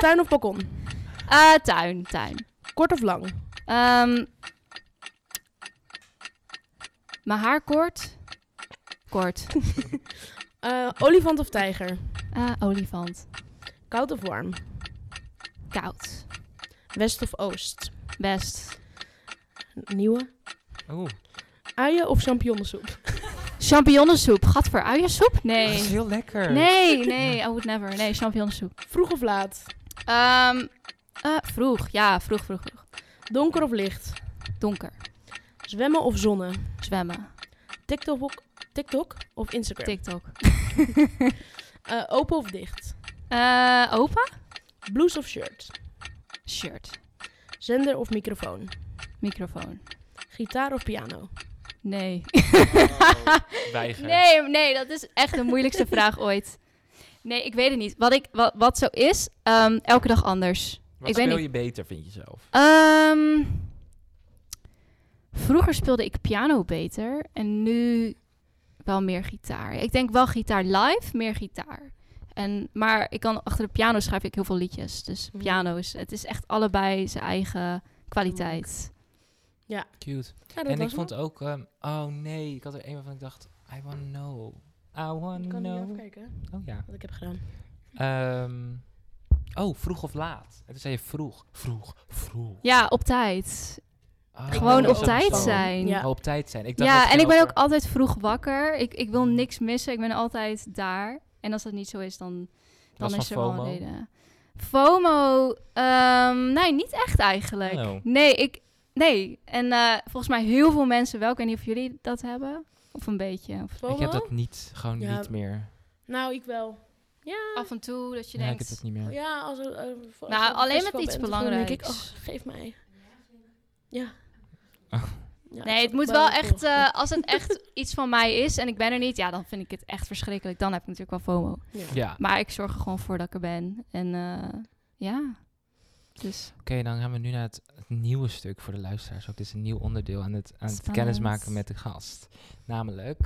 Speaker 2: Tuin of balkon?
Speaker 3: Ah, tuin, tuin.
Speaker 2: Kort of lang?
Speaker 3: Ehm, mijn haar kort. Kort.
Speaker 2: Eh, olifant of tijger?
Speaker 3: Ah, olifant.
Speaker 2: Koud of warm?
Speaker 3: Koud.
Speaker 2: West of oost?
Speaker 3: Best.
Speaker 2: Nieuwe?
Speaker 1: Oeh,
Speaker 2: Uien of champignonsoep?
Speaker 3: Champignonsoep. Gat voor uiensoep?
Speaker 1: dat is
Speaker 3: Nee.
Speaker 1: heel lekker.
Speaker 3: Nee, nee. I would never. Nee, champignonsoep.
Speaker 2: Vroeg of laat?
Speaker 3: Ehm, eh, vroeg. Ja, vroeg, vroeg, vroeg.
Speaker 2: Donker of licht?
Speaker 3: Donker.
Speaker 2: Zwemmen of zonne?
Speaker 3: Zwemmen.
Speaker 2: TikTok of, TikTok of Instagram?
Speaker 3: TikTok.
Speaker 2: Eh, open of dicht?
Speaker 3: Eh, open?
Speaker 2: Blouse of shirt?
Speaker 3: Shirt.
Speaker 2: Zender of microfoon?
Speaker 3: Microfoon.
Speaker 2: Gitaar of piano?
Speaker 3: Nee. (laughs)
Speaker 1: Weiger.
Speaker 3: Nee, nee, dat is echt de moeilijkste vraag ooit. Nee, ik weet het niet. Wat, ik, wat, wat zo is, ehm, elke dag anders.
Speaker 1: Wat
Speaker 3: ik weet
Speaker 1: speel
Speaker 3: niet.
Speaker 1: je beter, vind je zelf?
Speaker 3: Ehm, vroeger speelde ik piano beter en nu wel meer gitaar. Ik denk wel gitaar live, meer gitaar. En, maar ik kan, achter de piano schrijf ik heel veel liedjes. Dus
Speaker 2: Mhm.
Speaker 3: piano is, het is echt allebei zijn eigen kwaliteit.
Speaker 1: Cute.
Speaker 2: Ja, dat
Speaker 1: En ik
Speaker 2: was
Speaker 1: vond ook... ehm, oh nee, ik had er een waarvan ik dacht... I wanna know. I
Speaker 2: hem.
Speaker 1: wanna
Speaker 2: Ik kan niet
Speaker 1: know.
Speaker 2: afkijken
Speaker 1: Oh ja.
Speaker 2: wat ik heb gedaan.
Speaker 1: Ehm, oh, vroeg of laat. En toen zei je vroeg. Vroeg, vroeg.
Speaker 3: Ja, op tijd.
Speaker 1: Oh,
Speaker 3: Gewoon
Speaker 2: Oh,
Speaker 3: op
Speaker 2: zo.
Speaker 3: tijd
Speaker 1: zo.
Speaker 3: zijn.
Speaker 2: Ja.
Speaker 1: Oh, op tijd zijn. Ik dacht dat
Speaker 3: Ja, en
Speaker 1: ging
Speaker 3: ik ben ook
Speaker 1: over-
Speaker 3: altijd vroeg wakker. Ik, ik wil niks missen. Ik ben altijd daar. En als dat niet zo is, dan,
Speaker 1: Dat
Speaker 3: dan
Speaker 1: was
Speaker 3: is er
Speaker 1: van
Speaker 3: wel
Speaker 1: FOMO.
Speaker 3: een reden. FOMO? ehm, nee, niet echt eigenlijk.
Speaker 1: Oh.
Speaker 3: Nee, ik... Nee. En eh, volgens mij heel veel mensen wel. Ik weet niet of jullie dat hebben. Of een beetje. Of
Speaker 2: FOMO?
Speaker 1: Ik heb dat niet, gewoon
Speaker 2: Ja.
Speaker 1: niet meer.
Speaker 2: Nou, ik wel. Ja.
Speaker 3: af en toe dat je
Speaker 1: ja, ik heb
Speaker 3: denkt... Oh,
Speaker 1: dat niet meer.
Speaker 2: Ja, als er, eh, voor-
Speaker 3: Nou,
Speaker 2: als je op
Speaker 3: alleen
Speaker 2: een
Speaker 3: met
Speaker 2: festival
Speaker 3: iets
Speaker 2: bent, dan denk ik,
Speaker 3: belangrijks.
Speaker 2: oh, geef mij. Ja.
Speaker 1: Ah.
Speaker 2: Ja,
Speaker 3: Nee,
Speaker 2: ik
Speaker 3: het
Speaker 2: zat
Speaker 3: moet
Speaker 2: ook
Speaker 3: wel
Speaker 2: heel
Speaker 3: echt...
Speaker 2: goed.
Speaker 3: eh, als het echt (laughs) iets van mij is en ik ben er niet... Ja, dan vind ik het echt verschrikkelijk. Dan heb ik natuurlijk wel FOMO.
Speaker 1: Ja,
Speaker 3: Maar ik zorg er gewoon voor dat ik er ben. En eh, ja... Dus...
Speaker 1: oké, dan gaan we nu naar het, het nieuwe stuk voor de luisteraars. Ook dit is een nieuw onderdeel aan het, aan het
Speaker 3: Spannend.
Speaker 1: kennismaken met de gast. Namelijk,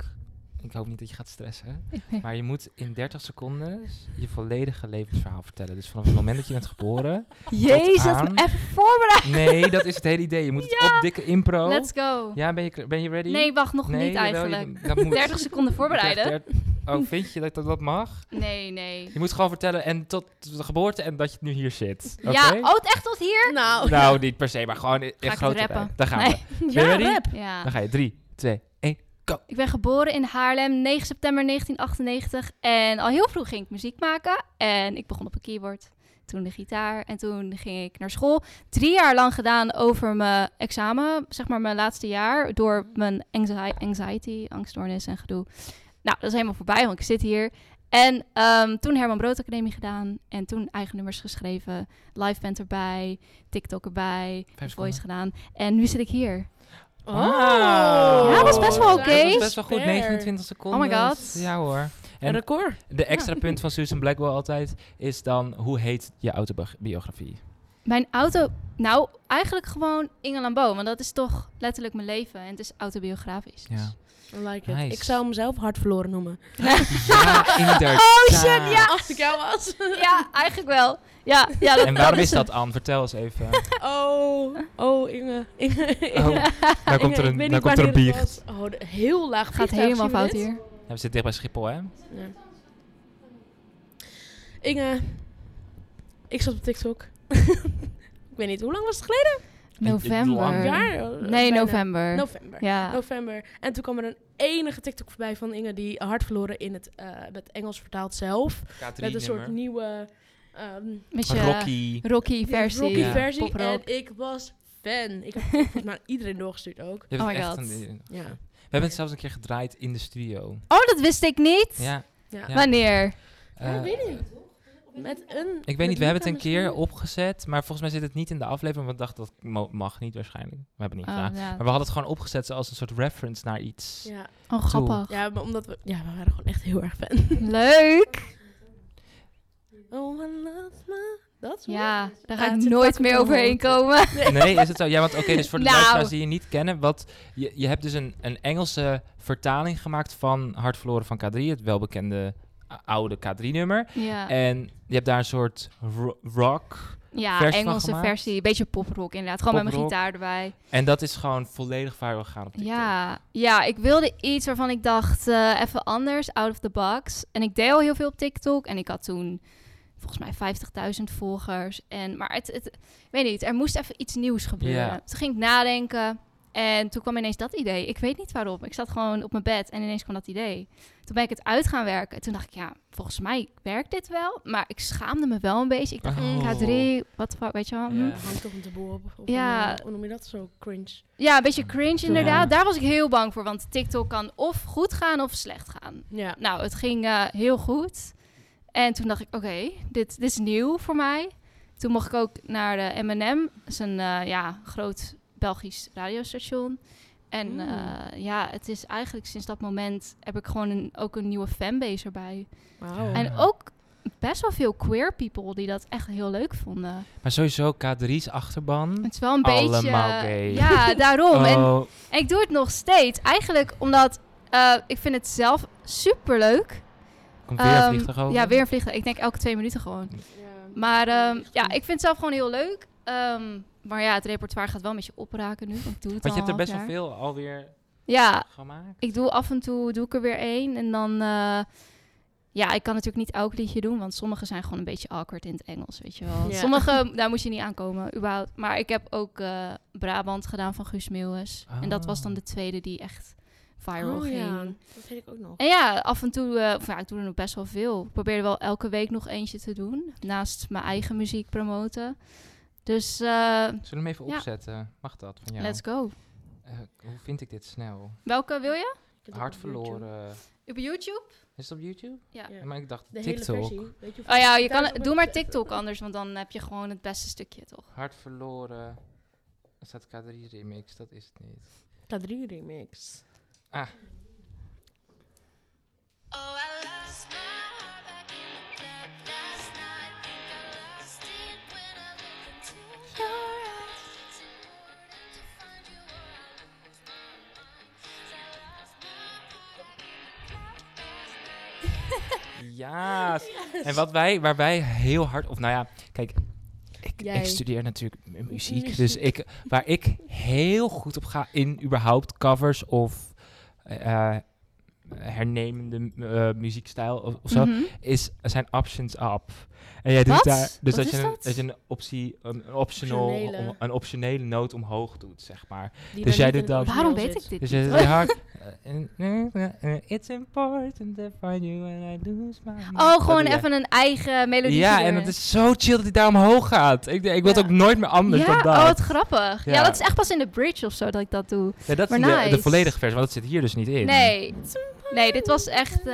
Speaker 1: ik hoop niet dat je gaat stressen, maar je moet in 30 seconden je volledige levensverhaal vertellen. Dus vanaf het moment dat je bent geboren.
Speaker 3: Jezus, dat
Speaker 1: aan.
Speaker 3: me even voorbereid. (laughs)
Speaker 1: Nee, dat is het hele idee. Je moet het
Speaker 3: Ja.
Speaker 1: opdikken, impro.
Speaker 3: Let's go.
Speaker 1: Ja, ben je, kla- ben je ready?
Speaker 3: Nee, wacht, nog
Speaker 1: Nee,
Speaker 3: niet
Speaker 1: jawel, je-
Speaker 3: eigenlijk.
Speaker 1: dat moet.
Speaker 3: 30 seconden
Speaker 1: Je
Speaker 3: voorbereiden.
Speaker 1: krijgt dert- Oh, vind je dat dat, dat mag?
Speaker 3: Nee, nee.
Speaker 1: Je moet gewoon vertellen en tot de geboorte en dat je nu hier zit. Oké?
Speaker 3: Ja, oh, het echt tot hier?
Speaker 2: Nou,
Speaker 1: Nou, niet per se, maar gewoon in, in
Speaker 3: Ga ik
Speaker 1: grote
Speaker 3: het rappen?
Speaker 1: lijn. Daar gaan
Speaker 3: Nee.
Speaker 1: we. Ben je ready?
Speaker 3: (laughs) Ja.
Speaker 1: Dan ga je. 3, 2, 1.
Speaker 3: Ik ben geboren in Haarlem, 9 september 1998. En al heel vroeg ging ik muziek maken. En ik begon op een keyboard. Toen de gitaar. En toen ging ik naar school. Drie jaar lang gedaan over mijn examen. Zeg maar mijn laatste jaar. Door mijn anxi- anxiety, angststoornis en gedoe. Nou, dat is helemaal voorbij, want ik zit hier. En ehm, toen Herman Brood Academie gedaan. En toen eigen nummers geschreven. Live band erbij. TikTok erbij.
Speaker 1: Vijf
Speaker 3: Voice gedaan. En nu zit ik hier.
Speaker 1: Wauw.
Speaker 3: Ja, dat is Oh. best wel
Speaker 2: Ja,
Speaker 3: oké.
Speaker 1: Dat is
Speaker 2: is
Speaker 1: best wel goed,
Speaker 2: oh. fair.
Speaker 1: 29 seconden.
Speaker 3: Oh my god.
Speaker 1: Ja hoor.
Speaker 2: Een record.
Speaker 1: De extra punt van Susan Blackwell altijd is dan, hoe heet je autobiografie?
Speaker 3: Mijn auto... Nou, eigenlijk gewoon Inge Lambeau. Want dat is toch letterlijk mijn leven. En het is autobiografisch. dus-
Speaker 1: Ja.
Speaker 2: I like it.
Speaker 1: Nice.
Speaker 2: Ik zou hem zelf hard verloren noemen.
Speaker 1: ja, inderdaad.
Speaker 2: oh Als ik jou was. (laughs)
Speaker 3: Dus- Ja, eigenlijk wel. Ja, ja, dat,
Speaker 1: En waarom is
Speaker 3: het.
Speaker 1: dat, Anne? Vertel eens even.
Speaker 2: Oh, oh Inge. Inge, Inge.
Speaker 1: Oh, daar komt
Speaker 2: Inge,
Speaker 1: er
Speaker 2: ik
Speaker 1: een,
Speaker 2: weet
Speaker 1: daar
Speaker 2: niet
Speaker 1: komt er een
Speaker 2: wanneer het
Speaker 1: biecht.
Speaker 2: was. Oh, de- heel laag
Speaker 3: Gaat
Speaker 2: vliegtuig,
Speaker 3: helemaal
Speaker 2: zien we
Speaker 3: fout
Speaker 2: dit?
Speaker 3: hier.
Speaker 1: Ja, we zitten dicht bij Schiphol, hè?
Speaker 2: Ja. Inge, ik zat op TikTok. (laughs) ik weet niet, hoe lang was het geleden?
Speaker 1: Lang.
Speaker 3: November.
Speaker 2: Een jaar? eh,
Speaker 3: Nee,
Speaker 2: bijna.
Speaker 3: november.
Speaker 2: November.
Speaker 3: Ja.
Speaker 2: November. En toen kwam er een enige TikTok voorbij van Inge die hard verloren in het, eh, met Engels vertaald zelf. met een soort nieuwe ehm,
Speaker 3: Met je
Speaker 1: Rocky.
Speaker 3: Rocky versie.
Speaker 2: Rocky
Speaker 1: Ja.
Speaker 2: versie.
Speaker 3: Poprock.
Speaker 2: En ik was fan.
Speaker 3: (laughs)
Speaker 2: Ik heb het volgens mij aan iedereen doorgestuurd ook.
Speaker 1: Dit is
Speaker 3: Oh my
Speaker 1: echt
Speaker 3: god.
Speaker 1: een- eh,
Speaker 2: Ja.
Speaker 1: we hebben het zelfs een keer gedraaid in de studio.
Speaker 3: Oh, dat wist ik niet.
Speaker 1: Ja.
Speaker 2: ja.
Speaker 1: Ja.
Speaker 3: Wanneer?
Speaker 1: eh,
Speaker 2: ik weet niet. Met een.
Speaker 1: Ik weet niet, we hebben het een keer opgezet, maar volgens mij zit het niet in de aflevering, want we dachten dat mo- mag niet waarschijnlijk. We hebben het niet
Speaker 3: Oh,
Speaker 1: gedaan.
Speaker 3: ja.
Speaker 1: Maar we hadden het gewoon opgezet zoals een soort reference naar iets.
Speaker 2: Ja.
Speaker 3: oh grappig.
Speaker 2: ja, maar omdat we. Ja, we waren gewoon echt heel erg fan.
Speaker 3: Leuk.
Speaker 2: Oh, I love my Dat? zo?
Speaker 3: Ja, daar
Speaker 2: Ah,
Speaker 3: ga
Speaker 2: het
Speaker 3: ik
Speaker 2: is
Speaker 3: nooit
Speaker 2: pakken
Speaker 3: meer
Speaker 2: van
Speaker 3: overheen komen.
Speaker 1: (laughs) Nee, is het zo? Ja, want oké, dus voor de
Speaker 3: Nou.
Speaker 1: luisteraars die je niet kennen, wat, je, je hebt dus een, een Engelse vertaling gemaakt van Hart verloren van K3, het welbekende eh, oude K3-nummer.
Speaker 3: Ja,
Speaker 1: En je hebt daar een soort ro- rock.
Speaker 3: ja
Speaker 1: vers van
Speaker 3: Engelse
Speaker 1: gemaakt?
Speaker 3: versie. Beetje poprock inderdaad. Gewoon met mijn
Speaker 1: Poprock.
Speaker 3: gitaar erbij.
Speaker 1: En dat is gewoon volledig viral gegaan op TikTok.
Speaker 3: Ja, ja, ik wilde iets waarvan ik dacht, eh, even anders, out of the box. En ik deed al heel veel op TikTok en ik had toen volgens mij 50.000 volgers. En, maar het, het, ik weet niet, er moest even iets nieuws gebeuren.
Speaker 1: Ja.
Speaker 3: Toen ging ik nadenken en toen kwam ineens dat idee. Ik weet niet waarom, ik zat gewoon op mijn bed en ineens kwam dat idee. Toen ben ik het uit gaan werken. Toen dacht ik, ja, volgens mij werkt dit wel. Maar ik schaamde me wel een beetje. Ik dacht,
Speaker 1: Oh.
Speaker 3: K3, wat de fuck, weet je wel. hm.
Speaker 1: Ja.
Speaker 2: Hangt toch een taboe op. Of
Speaker 3: Ja.
Speaker 2: een, eh, hoe noem je dat zo? Cringe.
Speaker 3: Ja, een beetje cringe inderdaad.
Speaker 1: Ja.
Speaker 3: Daar was ik heel bang voor, want TikTok kan of goed gaan of slecht gaan.
Speaker 2: Ja.
Speaker 3: Nou, het ging eh, heel goed. En toen dacht ik, oké, dit, dit is nieuw voor mij. Toen mocht ik ook naar de M&M, dat is een eh, ja, groot Belgisch radiostation. En
Speaker 1: Hmm.
Speaker 2: Mm.
Speaker 3: eh, ja, het is eigenlijk sinds dat moment heb ik gewoon een, ook een nieuwe fanbase erbij.
Speaker 2: Wauw.
Speaker 1: Ja.
Speaker 3: En ook best wel veel queer people die dat echt heel leuk vonden.
Speaker 1: Maar sowieso K3's achterban.
Speaker 3: Het is wel een beetje...
Speaker 1: Allemaal gay.
Speaker 3: Ja, daarom. En
Speaker 1: (laughs) Oh,
Speaker 3: en ik doe het nog steeds. Eigenlijk omdat eh, ik vind het zelf superleuk.
Speaker 1: komt weer een
Speaker 3: Ehm,
Speaker 1: vliegtuig over.
Speaker 3: Ja, weer een vliegtuig. Ik denk elke twee minuten gewoon.
Speaker 2: Ja.
Speaker 3: Maar
Speaker 2: Ja,
Speaker 3: ehm,
Speaker 2: echt
Speaker 3: ja,
Speaker 2: goed.
Speaker 3: ik vind het zelf gewoon heel leuk. Ehm, maar ja, het repertoire gaat wel een beetje opraken nu. Want ik doe het
Speaker 1: Want je hebt
Speaker 3: al
Speaker 1: er
Speaker 3: een
Speaker 1: best wel
Speaker 3: half
Speaker 1: veel alweer
Speaker 3: jaar. Ja,
Speaker 1: gemaakt.
Speaker 3: ik doe af en toe doe ik er weer één. En dan... eh, ja, ik kan natuurlijk niet elk liedje doen, want sommige zijn gewoon een beetje awkward in het Engels, weet je wel.
Speaker 2: Ja.
Speaker 3: Sommige, (laughs) daar moet je niet aankomen, überhaupt. Maar ik heb ook eh, Brabant gedaan van Guus Meeuwis. En dat was dan de tweede die echt viral
Speaker 2: Oh,
Speaker 3: ging.
Speaker 2: ja. Dat weet ik ook nog.
Speaker 3: En ja, af en toe, eh, of ja, ik doe er nog best wel veel. Ik probeer er wel elke week nog eentje te doen. Naast mijn eigen muziek promoten. Dus eh,
Speaker 1: Zullen we hem even
Speaker 3: Ja.
Speaker 1: opzetten? Mag dat van jou?
Speaker 3: let's go.
Speaker 1: Eh, hoe vind ik dit snel?
Speaker 3: Welke wil je?
Speaker 2: Ik heb het
Speaker 1: Hart
Speaker 2: op YouTube.
Speaker 1: verloren.
Speaker 3: Op YouTube?
Speaker 1: Is het op YouTube?
Speaker 3: Ja.
Speaker 2: Ja.
Speaker 1: Maar ik dacht
Speaker 2: De hele
Speaker 1: TikTok.
Speaker 2: versie. Weet je of-
Speaker 3: Oh ja, je
Speaker 2: Thuis
Speaker 3: kan,
Speaker 2: op
Speaker 3: doe maar
Speaker 2: opzetten.
Speaker 3: TikTok anders, want dan heb je gewoon het beste stukje, toch?
Speaker 1: Hart verloren. Er staat K3 remix, dat is het niet.
Speaker 2: K3 remix.
Speaker 1: Ja.
Speaker 2: (laughs)
Speaker 1: En wat wij, waar wij heel hard, of nou ja, kijk, ik,
Speaker 2: Jij.
Speaker 1: ik studeer natuurlijk mu- muziek,
Speaker 2: Muziek.
Speaker 1: dus ik, waar ik heel goed op ga in überhaupt covers of eh, eh, hernemende eh, muziekstijl of,
Speaker 3: (laughs)
Speaker 1: of zo,
Speaker 3: Mhm.
Speaker 1: is, zijn options up. En jij doet
Speaker 3: Wat?
Speaker 1: daar, dus dat,
Speaker 3: Wat is
Speaker 1: je
Speaker 3: dat?
Speaker 1: Een, dat je een optie, een, een optional,
Speaker 2: Optionele.
Speaker 1: een optionele noot omhoog doet, zeg maar.
Speaker 2: Die
Speaker 1: Dus
Speaker 2: daar
Speaker 1: jij
Speaker 2: niet in
Speaker 1: doet
Speaker 2: het
Speaker 1: dat-
Speaker 2: origineel
Speaker 3: Waarom weet
Speaker 2: zit.
Speaker 3: ik dit
Speaker 1: Dus
Speaker 3: niet?
Speaker 1: je zit
Speaker 3: (laughs)
Speaker 1: hard. It's important to find you when I lose my mind.
Speaker 3: Oh, gewoon
Speaker 1: Dat doe jij.
Speaker 3: even een eigen melodie.
Speaker 1: Ja,
Speaker 3: erin.
Speaker 1: en het is zo chill dat hij daar omhoog gaat. Ik, ik wil het
Speaker 2: Ja.
Speaker 1: ook nooit meer anders
Speaker 3: Ja,
Speaker 1: dan dat.
Speaker 3: oh, wat grappig. Ja.
Speaker 1: Ja.
Speaker 3: dat is echt pas in de bridge of zo dat ik dat doe.
Speaker 1: ja, dat is
Speaker 3: maar
Speaker 1: de- de,
Speaker 3: nice.
Speaker 1: volledige versie, want dat zit hier dus niet in.
Speaker 3: Nee, nee dit was echt eh,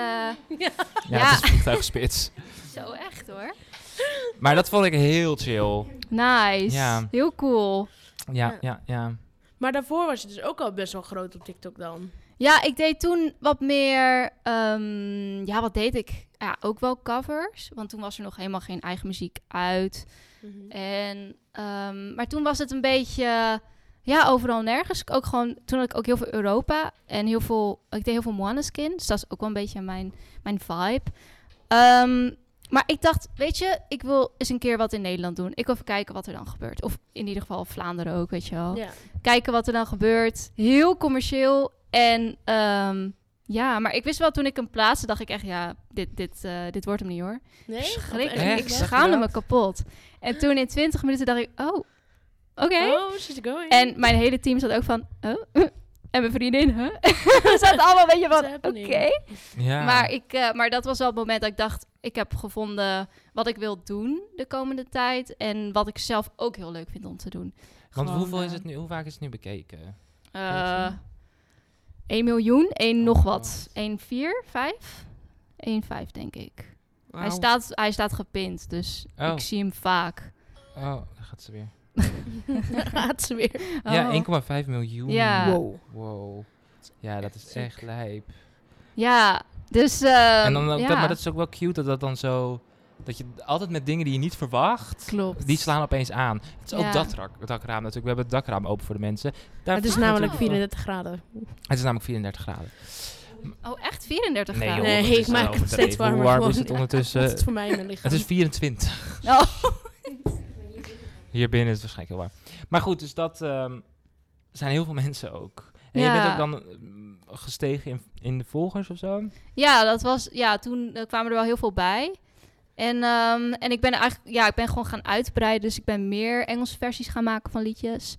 Speaker 2: (laughs)
Speaker 1: Ja,
Speaker 3: Ja.
Speaker 1: het is
Speaker 3: (laughs)
Speaker 1: vliegtuigspits.
Speaker 3: zo echt hoor.
Speaker 1: maar dat vond ik heel chill.
Speaker 3: Nice,
Speaker 1: Ja.
Speaker 3: heel cool.
Speaker 1: Ja,
Speaker 2: Ja.
Speaker 1: ja, ja.
Speaker 2: Maar daarvoor was je dus ook al best wel groot op TikTok dan.
Speaker 3: Ja, ik deed toen wat meer. ehm, ja, wat deed ik? Ja, ook wel covers. Want toen was er nog helemaal geen eigen muziek uit. Mm-hmm. En, ehm, maar toen was het een beetje. Ja, overal nergens. Ik Ook gewoon, toen had ik ook heel veel Europa en heel veel. Ik deed heel veel Moaneskin. Dus dat is ook wel een beetje mijn, mijn vibe. Ehm, maar ik dacht, weet je, ik wil eens een keer wat in Nederland doen. Ik wil even kijken wat er dan gebeurt. Of in ieder geval Vlaanderen ook, weet je wel
Speaker 2: Ja.
Speaker 3: kijken wat er dan gebeurt. Heel commercieel. En ehm, ja, maar ik wist wel toen ik hem plaatste, dacht ik echt, ja, dit, dit, eh, dit wordt hem niet hoor.
Speaker 2: Nee?
Speaker 3: Schrikkelijk.
Speaker 1: echt?
Speaker 3: Ik
Speaker 1: Dacht je
Speaker 3: schaamde me
Speaker 1: dat?
Speaker 3: kapot. En toen in 20 minuten dacht ik, oh, oké.
Speaker 2: Oh, she's going.
Speaker 3: En mijn hele team zat ook van, oh, (laughs) en mijn vriendin, huh? (laughs) We zaten allemaal een beetje van,
Speaker 2: What's
Speaker 3: oké.
Speaker 2: happening?
Speaker 1: ja.
Speaker 3: Maar, ik, eh, maar dat was wel het moment dat ik dacht, ik heb gevonden wat ik wil doen de komende tijd. En wat ik zelf ook heel leuk vind om te doen.
Speaker 1: want
Speaker 3: gewoon,
Speaker 1: hoeveel
Speaker 3: eh,
Speaker 1: is het nu, hoe vaak is het nu bekeken?
Speaker 3: Eh,
Speaker 1: Oké.
Speaker 3: 1 miljoen, 1
Speaker 1: Oh,
Speaker 3: nog
Speaker 1: God.
Speaker 3: wat. 1, 4, 5? 1, 5 denk ik. Hij, staat, hij staat gepind, dus
Speaker 1: Oh.
Speaker 3: ik zie hem vaak.
Speaker 1: Oh, daar gaat ze weer.
Speaker 2: (laughs) gaat ze weer.
Speaker 1: Ja,
Speaker 3: Oh.
Speaker 1: 1,5 miljoen.
Speaker 3: Ja.
Speaker 2: Wow.
Speaker 1: Wow. Ja, dat is echt lijp.
Speaker 3: Ja, dus... ehm,
Speaker 1: en dan ook
Speaker 3: ja.
Speaker 2: Ehm,
Speaker 1: dat, maar dat is ook wel cute dat dat dan zo Dat je altijd met dingen die je niet verwacht,
Speaker 2: Klopt.
Speaker 1: die slaan opeens aan. Het is
Speaker 3: Ja.
Speaker 1: ook dat rak- dakraam natuurlijk. We hebben het dakraam open voor de mensen. Daar
Speaker 2: Het is
Speaker 1: valt
Speaker 2: namelijk
Speaker 3: Oh.
Speaker 2: 34 graden.
Speaker 1: Het is namelijk 34 graden.
Speaker 3: Oh, echt 34
Speaker 1: Nee,
Speaker 3: graden?
Speaker 1: joh,
Speaker 2: Nee,
Speaker 1: dat is
Speaker 2: ik maak
Speaker 1: wel
Speaker 2: het steeds
Speaker 1: overdreven.
Speaker 2: warmer
Speaker 1: Hoe warm is
Speaker 2: gewoon.
Speaker 1: het ondertussen?
Speaker 2: Dat (laughs) is voor mij in mijn lichaam.
Speaker 1: Dus, eh, Het is 24.
Speaker 3: Oh.
Speaker 1: Hier binnen is het waarschijnlijk heel warm. Maar goed, dus dat ehm, zijn heel veel mensen ook. En je bent
Speaker 3: Ja.
Speaker 1: ook dan eh, gestegen in, in de volgers of zo?
Speaker 3: Ja, dat was, ja, toen eh, kwamen er wel heel veel bij. En, ehm, en ik ben eigenlijk, ja, ik ben gewoon gaan uitbreiden. Dus ik ben meer Engelse versies gaan maken van liedjes.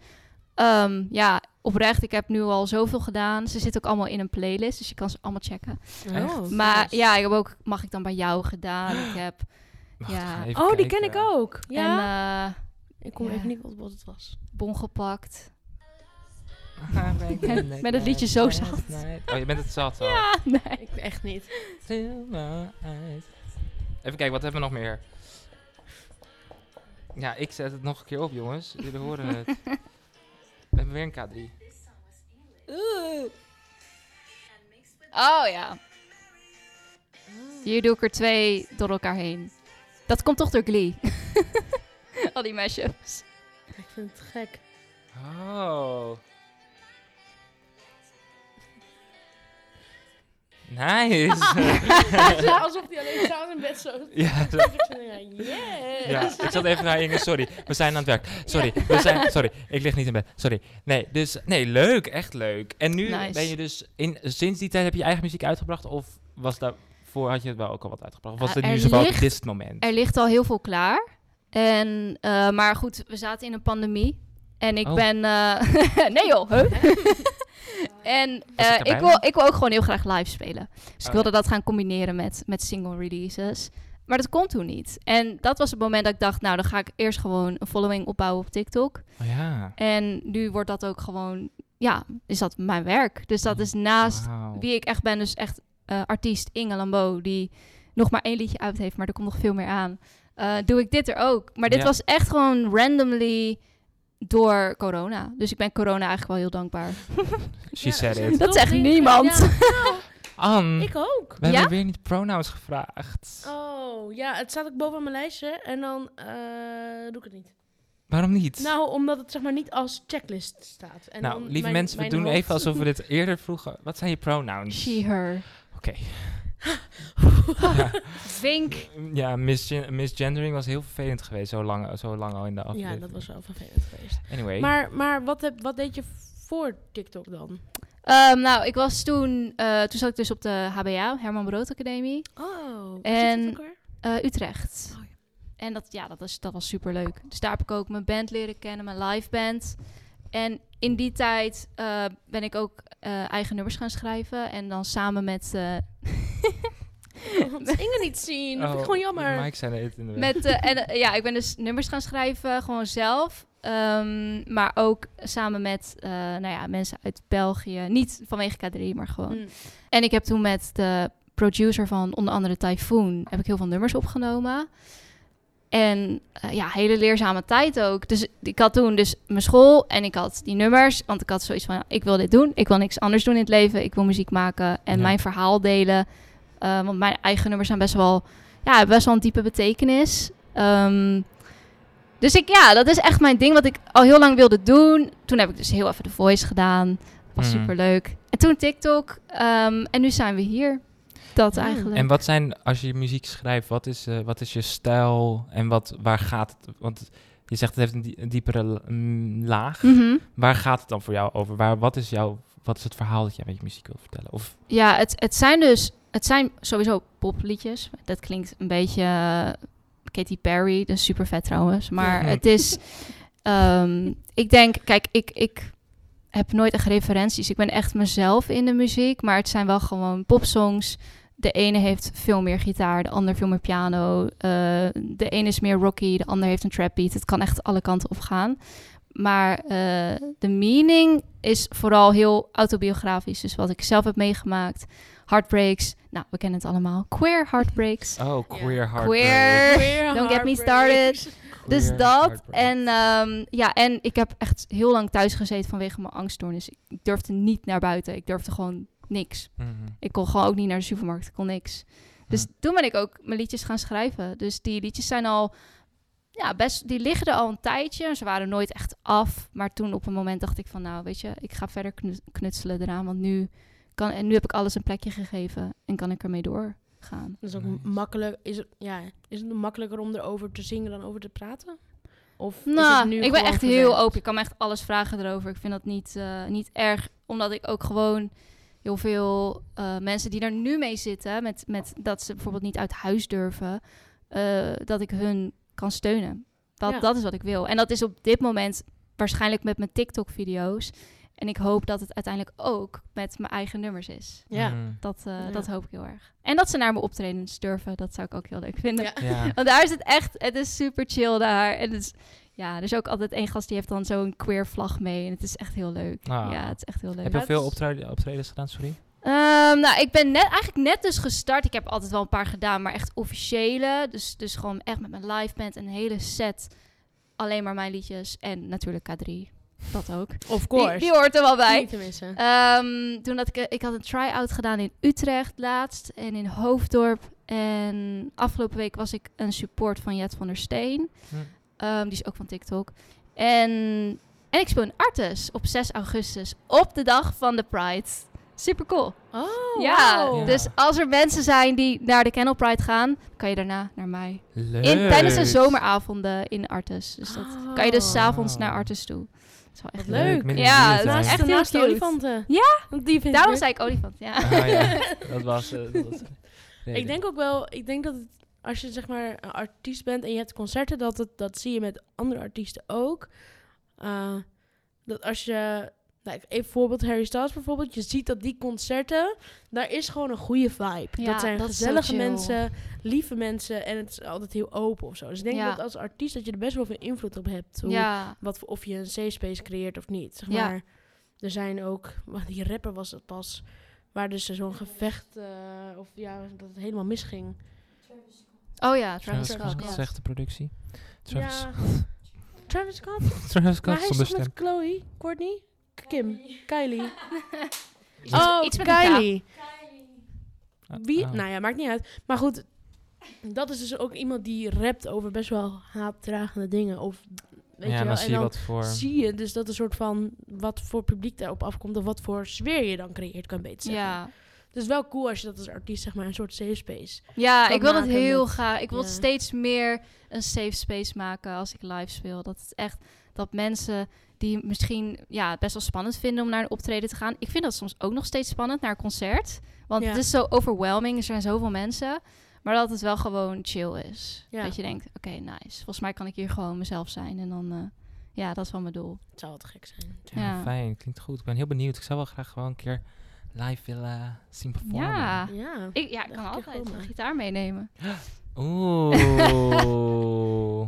Speaker 3: Ehm, ja, oprecht, ik heb nu al zoveel gedaan. Ze zitten ook allemaal in een playlist, dus je kan ze allemaal checken.
Speaker 2: Oh.
Speaker 1: Echt?
Speaker 3: Maar ja, ik heb ook Mag ik dan bij jou gedaan. Ik heb,
Speaker 1: (gasps) Wacht,
Speaker 3: Ja.
Speaker 1: ik ga even
Speaker 2: Oh, die
Speaker 1: kijken.
Speaker 2: ken ik ook.
Speaker 3: en,
Speaker 2: Ja.
Speaker 3: eh,
Speaker 2: ik kom
Speaker 3: ja.
Speaker 2: even niet op wat het
Speaker 3: (laughs)
Speaker 2: was.
Speaker 3: Bon gepakt.
Speaker 2: (laughs)
Speaker 3: Met het liedje zo zat.
Speaker 1: Oh, je bent het zat al.
Speaker 3: Ah, nee.
Speaker 2: Ik echt niet.
Speaker 1: Till my eyes. Even kijken, wat hebben we nog meer? Ja, ik zet het nog een keer op, jongens. Jullie horen het. We hebben weer een K3.
Speaker 3: Oh ja. Hier doe ik er twee door elkaar heen. Dat komt toch door Glee. (laughs) Al die mashups.
Speaker 2: Ik vind het
Speaker 1: (laughs)
Speaker 2: gek.
Speaker 1: Oh. Nice.
Speaker 2: Alsof die alleen samen in bed zo...
Speaker 1: ja, zo-
Speaker 2: Yeah.
Speaker 1: ja, ik zat even naar Inge. Sorry, we zijn aan het werk. Sorry, we zijn, sorry, ik lig niet in bed. Sorry. Nee, dus, nee, leuk. Echt leuk. En nu
Speaker 3: Nice.
Speaker 1: ben je dus... In, sinds die tijd heb je je eigen muziek uitgebracht? Of was daarvoor had je het wel ook al wat uitgebracht? Of was
Speaker 2: Ah,
Speaker 3: Ja,
Speaker 1: het nu
Speaker 3: er
Speaker 1: zo van,
Speaker 3: ligt-
Speaker 1: dit is het moment?
Speaker 3: Er ligt al heel veel klaar. En, eh, maar goed, we zaten in een pandemie. En ik
Speaker 1: Oh.
Speaker 3: ben... eh, (laughs) nee joh, huh? (laughs) en
Speaker 1: Was
Speaker 3: eh,
Speaker 1: ik erbij
Speaker 3: ik, wil,
Speaker 1: dan?
Speaker 3: ik wil ook gewoon heel graag live spelen. Dus ik
Speaker 1: Oh,
Speaker 3: wilde dat gaan combineren met, met single releases. Maar dat kon toen niet. En dat was het moment dat ik dacht... Nou, dan ga ik eerst gewoon een following opbouwen op TikTok.
Speaker 1: Oh ja.
Speaker 3: En nu wordt dat ook gewoon, ja, is dat mijn werk. Dus dat is naast
Speaker 1: Wauw.
Speaker 3: wie ik echt ben, dus echt eh, artiest Inge Lambeau, die nog maar één liedje uit heeft, maar er komt nog veel meer aan. eh, doe ik dit er ook. Maar dit
Speaker 1: Ja.
Speaker 3: was echt gewoon randomly door corona. Dus ik ben corona eigenlijk wel heel dankbaar.
Speaker 1: She said it.
Speaker 3: Dat zegt niemand.
Speaker 1: (laughs) Anne,
Speaker 2: ik ook.
Speaker 1: we hebben
Speaker 3: Ja?
Speaker 1: weer niet pronouns gevraagd.
Speaker 2: Oh, ja, het staat ook bovenaan mijn lijstje en dan eh, doe ik het niet.
Speaker 1: Waarom niet?
Speaker 2: Nou, omdat het zeg maar niet als checklist staat. En
Speaker 1: Nou,
Speaker 2: dan
Speaker 1: lieve
Speaker 2: mijn-
Speaker 1: mensen, we
Speaker 2: mijn
Speaker 1: doen
Speaker 2: hoofd-
Speaker 1: even alsof
Speaker 2: (laughs)
Speaker 1: we dit eerder vroegen. Wat zijn je pronouns?
Speaker 3: She, her.
Speaker 1: Oké.
Speaker 3: (laughs) Vink.
Speaker 1: Ja, misgen- misgendering was heel vervelend geweest, zo lang, zo lang al in de aflevering.
Speaker 2: Ja, dat was wel vervelend geweest.
Speaker 1: Anyway,
Speaker 2: Maar, maar wat, heb, wat deed je voor TikTok dan?
Speaker 3: Ehm, nou, ik was toen, eh, toen zat ik dus op de HBO, Herman Brood Academie.
Speaker 2: Oh,
Speaker 3: En- eh, Utrecht. En dat, ja, dat, is, dat was super leuk. Dus daar heb ik ook mijn band leren kennen, mijn live band. En in die tijd eh, ben ik ook eh, eigen nummers gaan schrijven. En dan samen met, eh,
Speaker 2: (laughs) Ik kon Inge niet zien. Dat vind ik gewoon jammer.
Speaker 1: Oh, Mike zijn het in de weg.
Speaker 3: met eh, en, eh, ja, ik ben dus nummers gaan schrijven, gewoon zelf. Ehm, maar ook samen met eh, nou ja, mensen uit België. Niet vanwege K3, maar gewoon.
Speaker 2: Mm.
Speaker 3: En ik heb toen met de producer van onder andere Typhoon... heb ik heel veel nummers opgenomen. En eh, ja, hele leerzame tijd ook. Dus ik had toen dus mijn school en ik had die nummers. Want ik had zoiets van, ik wil dit doen. Ik wil niks anders doen in het leven. Ik wil muziek maken en
Speaker 1: Ja.
Speaker 3: mijn verhaal delen. Eh, want mijn eigen nummers zijn best wel... Ja, hebben best wel een diepe betekenis. Ehm, dus ik, ja, dat is echt mijn ding wat ik al heel lang wilde doen. Toen heb ik dus heel even The Voice gedaan. Was
Speaker 1: Mm.
Speaker 3: superleuk. En toen TikTok. ehm, en nu zijn we hier. Dat
Speaker 2: Ja.
Speaker 3: eigenlijk.
Speaker 1: En wat zijn, als je muziek schrijft, wat is, eh, wat is je stijl en wat, waar gaat het? Want je zegt het heeft een, die- een diepere la- mm, laag.
Speaker 3: Mhm.
Speaker 1: Waar gaat het dan voor jou over? Waar, wat, is jouw, wat is het verhaal dat jij met je muziek wilt vertellen? Of
Speaker 3: Ja, het, het zijn dus... Het zijn sowieso popliedjes. Dat klinkt een beetje eh, Katy Perry. Dat is super vet trouwens. Maar
Speaker 1: Ja.
Speaker 3: het
Speaker 1: (laughs)
Speaker 3: is... ehm, ik denk... Kijk, ik, ik heb nooit echt referenties. Ik ben echt mezelf in de muziek. Maar het zijn wel gewoon popsongs. De ene heeft veel meer gitaar. De ander veel meer piano. eh, de ene is meer rocky. De ander heeft een trap beat. Het kan echt alle kanten op gaan. Maar eh, de meaning is vooral heel autobiografisch. Dus wat ik zelf heb meegemaakt. Heartbreaks. Nou, we kennen het allemaal. Queer
Speaker 1: (laughs)
Speaker 3: heartbreaks.
Speaker 1: oh,
Speaker 2: Ja.
Speaker 1: queer hard.
Speaker 3: Queer. Don't get me started. Dus dat. En, ehm, ja, en ik heb echt heel lang thuis gezeten vanwege mijn angststoornis. Ik ik
Speaker 1: Mhm.
Speaker 3: durfde niet naar buiten. Ik durfde gewoon niks. Ik kon gewoon ook niet naar de supermarkt. Ik kon niks. Dus toen ben ik ook mijn liedjes gaan schrijven. Dus die liedjes zijn al, ja, best, die liggen er al een tijdje. Ze waren nooit echt af. Maar toen op een moment dacht ik van, nou, weet je, ik ga verder knu- knutselen eraan. Want nu, kan, en nu heb ik alles een plekje gegeven en kan ik ermee doorgaan.
Speaker 2: Dat is ook
Speaker 1: Nice.
Speaker 2: makkelijk. Is het, ja, is het makkelijker om erover te zingen dan over te praten? Of is het
Speaker 3: Nou,
Speaker 2: nu
Speaker 3: ik ben
Speaker 2: gewoon
Speaker 3: echt heel
Speaker 2: verwerkt?
Speaker 3: open. Ik kan me echt alles vragen erover. Ik vind dat niet, eh, niet erg, omdat ik ook gewoon heel veel eh, mensen die daar nu mee zitten, met, met dat ze bijvoorbeeld niet uit huis durven, eh, dat ik hun kan steunen. Dat,
Speaker 2: Ja.
Speaker 3: dat is wat ik wil. En dat is op dit moment waarschijnlijk met mijn TikTok-video's. En ik hoop dat het uiteindelijk ook met mijn eigen nummers is.
Speaker 2: Ja.
Speaker 1: Mhm.
Speaker 2: (laughs)
Speaker 3: Dat, eh,
Speaker 2: Ja.
Speaker 3: dat hoop ik heel erg. En dat ze naar mijn optredens durven, dat zou ik ook heel leuk vinden.
Speaker 2: Ja.
Speaker 1: Ja.
Speaker 3: Want daar is het echt, het is super chill daar. En het is, ja, er is ook altijd één gast die heeft dan zo'n queer vlag mee. En het is echt heel leuk.
Speaker 1: Ah.
Speaker 3: Ja, het is echt heel leuk.
Speaker 1: Heb je al
Speaker 2: Ja,
Speaker 1: veel
Speaker 2: dat is-
Speaker 1: optreden- optredens gedaan, sorry?
Speaker 3: Ehm, nou, ik ben net, eigenlijk net dus gestart. Ik heb altijd wel een paar gedaan, maar echt officiële. Dus, dus gewoon echt met mijn live band, een hele set. Alleen maar mijn liedjes. En natuurlijk K3. Dat ook.
Speaker 2: Of course.
Speaker 3: Die, die hoort er wel bij.
Speaker 2: Niet te missen.
Speaker 3: Ehm, toen had ik, ik had een try-out gedaan in Utrecht laatst en in Hoofddorp. En afgelopen week was ik een support van Jet van der Steen.
Speaker 1: Hm.
Speaker 3: Ehm, die is ook van TikTok. En, en ik speel in Artes op 6 augustus, op de dag van de Pride. Super cool.
Speaker 2: Oh,
Speaker 3: ja,
Speaker 2: wauw.
Speaker 3: dus als er mensen zijn die naar de Kennel Pride gaan, kan je daarna naar mij.
Speaker 1: Leuk.
Speaker 3: In, tijdens de zomeravonden in Artes. Dus dat kan je dus s'avonds naar
Speaker 1: Oh.
Speaker 3: Artes toe. Dat is wel echt
Speaker 2: Ah. Wat leuk.
Speaker 1: Minder
Speaker 3: Ja,
Speaker 1: hier
Speaker 3: dat is
Speaker 1: zijn.
Speaker 3: echt
Speaker 2: Echt
Speaker 3: heel
Speaker 2: naast de
Speaker 3: cute.
Speaker 2: olifanten.
Speaker 3: Ja,
Speaker 2: Want die vind ik
Speaker 3: Daarom
Speaker 2: leuk.
Speaker 3: zei ik olifant, ja.
Speaker 1: Ah,
Speaker 2: (laughs)
Speaker 1: ja. Dat was... eh, dat was de reden.
Speaker 2: Ik denk ook wel, ik denk dat het, als je zeg maar een artiest bent en je hebt concerten, dat, het, dat zie je met andere artiesten ook. Eh, dat als je, nou, even een voorbeeld Harry Styles bijvoorbeeld, je ziet dat die concerten, daar is gewoon een goede vibe.
Speaker 3: Ja,
Speaker 2: dat zijn
Speaker 3: dat is zo
Speaker 2: gezellige
Speaker 3: chill.
Speaker 2: mensen, lieve mensen en het is altijd heel open of zo. Dus ik denk
Speaker 3: Ja.
Speaker 2: dat als artiest dat je er best wel veel invloed op hebt. Hoe,
Speaker 3: Ja,
Speaker 2: wat, voor- of je een safe space creëert of niet. Zeg
Speaker 3: Ja.
Speaker 2: maar, er zijn ook, (laughs) want die rapper was het pas, waar dus zo'n gevecht, eh, of ja, dat het helemaal misging.
Speaker 3: Oh ja,
Speaker 1: Travis
Speaker 3: Travis
Speaker 1: Scott,
Speaker 3: Scott. ja.
Speaker 1: zegt de productie. (laughs) Travis,
Speaker 2: Ja. Travis Scott?
Speaker 1: Travis Scott
Speaker 2: maar hij is
Speaker 1: zonder
Speaker 2: toch
Speaker 1: stem.
Speaker 2: met Chloe, Courtney, Kim, (laughs) Kylie.
Speaker 3: met-
Speaker 2: Oh,
Speaker 3: iets met een
Speaker 2: Kylie.
Speaker 1: Ah,
Speaker 2: Wie?
Speaker 1: ah.
Speaker 2: Nou ja, maakt niet uit. Maar goed, dat is dus ook iemand die rapt over best wel haatdragende dingen. Of, weet
Speaker 1: ja,
Speaker 2: je wel.
Speaker 1: dan zie je wat voor...
Speaker 2: zie je dus dat een soort van wat voor publiek daarop afkomt of wat voor sfeer je dan creëert, kan ik beter zeggen.
Speaker 3: Ja,
Speaker 2: Het is wel cool als je dat als artiest zeg maar een soort safe space.
Speaker 3: ja
Speaker 2: Kan
Speaker 3: ik wil dat
Speaker 2: maken
Speaker 3: heel
Speaker 2: met-
Speaker 3: graag. Ik wil
Speaker 2: ja.
Speaker 3: het steeds meer een safe space maken als ik live speel. Dat het echt dat mensen die misschien ja, het best wel spannend vinden om naar een optreden te gaan. Ik vind dat soms ook nog steeds spannend naar een concert. Want
Speaker 2: Ja.
Speaker 3: het is zo overwhelming. Er zijn zoveel mensen. Maar dat het wel gewoon chill is.
Speaker 2: Ja.
Speaker 3: Dat je denkt, oké, nice. Volgens mij kan ik hier gewoon mezelf zijn. En dan, eh, ja, dat is wel mijn doel.
Speaker 2: Het zou wat gek zijn.
Speaker 1: Ja,
Speaker 3: Ja.
Speaker 1: fijn. Klinkt goed. Ik ben heel benieuwd. Ik zou wel graag gewoon een keer live willen zien performen.
Speaker 3: Ja.
Speaker 2: Ja. (laughs)
Speaker 3: Ik, ja, ik
Speaker 2: Dat
Speaker 3: kan
Speaker 2: kan
Speaker 3: altijd
Speaker 2: komen.
Speaker 3: een gitaar meenemen.
Speaker 2: (laughs)
Speaker 3: (laughs)
Speaker 1: Oeh.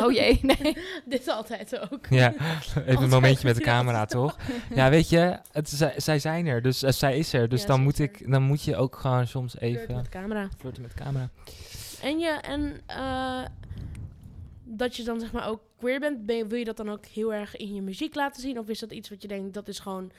Speaker 3: Oh jee, nee.
Speaker 2: Dit is altijd ook.
Speaker 1: ja, even een
Speaker 2: Altijd
Speaker 1: momentje met de
Speaker 2: gebeurd.
Speaker 1: camera, toch? Ja, weet je, het, zij, zij zijn er, dus eh, zij is er. Dus
Speaker 2: Ja,
Speaker 1: dan,
Speaker 2: ze
Speaker 1: moet
Speaker 2: is er.
Speaker 1: ik, dan moet je ook gewoon soms
Speaker 2: Even.
Speaker 1: even
Speaker 2: Met camera.
Speaker 1: flirten met de camera.
Speaker 2: En je en eh, dat je dan zeg maar ook queer bent, ben je- wil je dat dan ook heel erg in je muziek laten zien? Of is dat iets wat je denkt, dat is gewoon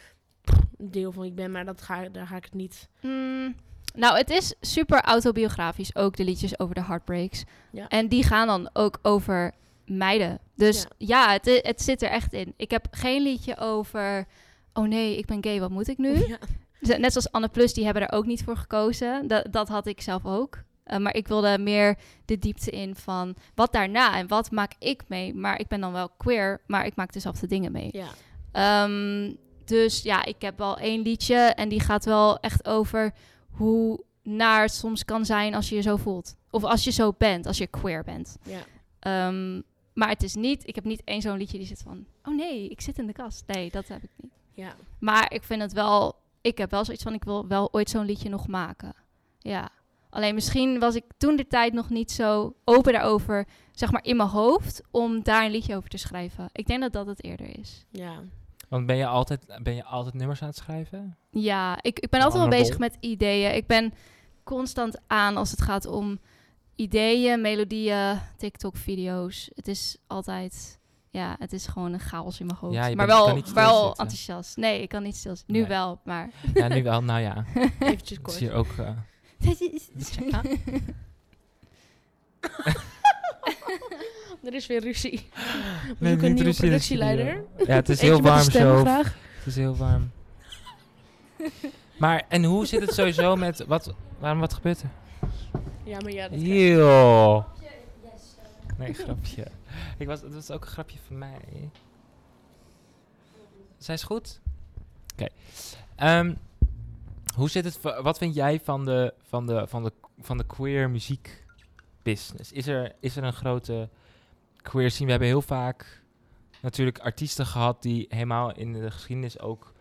Speaker 2: een deel van wie ik ben, maar dat ga, daar ga ik het niet.
Speaker 3: Mm, nou, het is super autobiografisch, ook de liedjes over de heartbreaks.
Speaker 2: Ja.
Speaker 3: En die gaan dan ook over meiden. Dus ja, het, i- het zit er echt in. Ik heb geen liedje over, oh nee, ik ben gay, wat moet ik nu?
Speaker 2: (laughs) Ja.
Speaker 3: Z- Net zoals Anne Plus, die hebben er ook niet voor gekozen. Dat, dat had ik zelf ook. Eh, maar ik wilde meer de diepte in van wat daarna en wat maak ik mee. Maar ik ben dan wel queer, maar ik maak dus dezelfde dingen mee.
Speaker 2: ja.
Speaker 3: Ehm, dus ja, ik heb wel één liedje en die gaat wel echt over hoe naar het soms kan zijn als je je zo voelt. Of als je zo bent, als je queer bent.
Speaker 2: Ja.
Speaker 3: Ehm, maar het is niet, ik heb niet één zo'n liedje die zit van, oh nee, ik zit in de kast. Nee, dat heb ik niet.
Speaker 2: ja.
Speaker 3: Maar ik vind het wel, ik heb wel zoiets van, ik wil wel ooit zo'n liedje nog maken. Ja. Alleen misschien was ik toen de tijd nog niet zo open daarover, zeg maar in mijn hoofd, om daar een liedje over te schrijven. Ik denk dat dat het eerder is.
Speaker 2: ja.
Speaker 1: Want ben je altijd, ben je altijd nummers aan het schrijven?
Speaker 3: Ja, ik, ik ben
Speaker 1: Een
Speaker 3: altijd wel
Speaker 1: andere
Speaker 3: bezig met ideeën. Ik ben constant aan als het gaat om ideeën, melodieën, TikTok-video's. Het is altijd, Ja, het is gewoon een chaos in mijn hoofd.
Speaker 1: Ja, je
Speaker 3: maar
Speaker 1: bent- je
Speaker 3: wel,
Speaker 1: kan niet
Speaker 3: wel
Speaker 1: stilzitten.
Speaker 3: enthousiast. Nee, ik kan niet stilzitten. Nu
Speaker 1: Nee.
Speaker 3: wel, maar...
Speaker 1: Ja, nu wel. Nou ja,
Speaker 2: Eventjes
Speaker 1: het is
Speaker 2: kort.
Speaker 1: hier ook... eh,
Speaker 2: (laughs) Er is weer ruzie. We
Speaker 1: Nee,
Speaker 2: zoeken een
Speaker 1: niet
Speaker 2: nieuwe
Speaker 1: ruzie in de
Speaker 2: productieleider.
Speaker 1: ja, het is
Speaker 2: Eentje
Speaker 1: heel
Speaker 2: met een
Speaker 1: warm zo.
Speaker 2: stemvraag.
Speaker 1: Het is heel warm. Maar, en hoe zit het sowieso met... Wat, waarom, wat gebeurt er?
Speaker 2: Ja, maar ja, dat kan.
Speaker 1: Heel. (laughs) Nee, grapje. Ik was, dat was ook een grapje van mij. Zijn ze goed? Oké. Ehm, hoe zit het? va- Wat vind jij van de, van de, van de, van de queer muziek business? Is er, is er een grote queer scene? We hebben heel vaak natuurlijk artiesten gehad die helemaal in de geschiedenis ook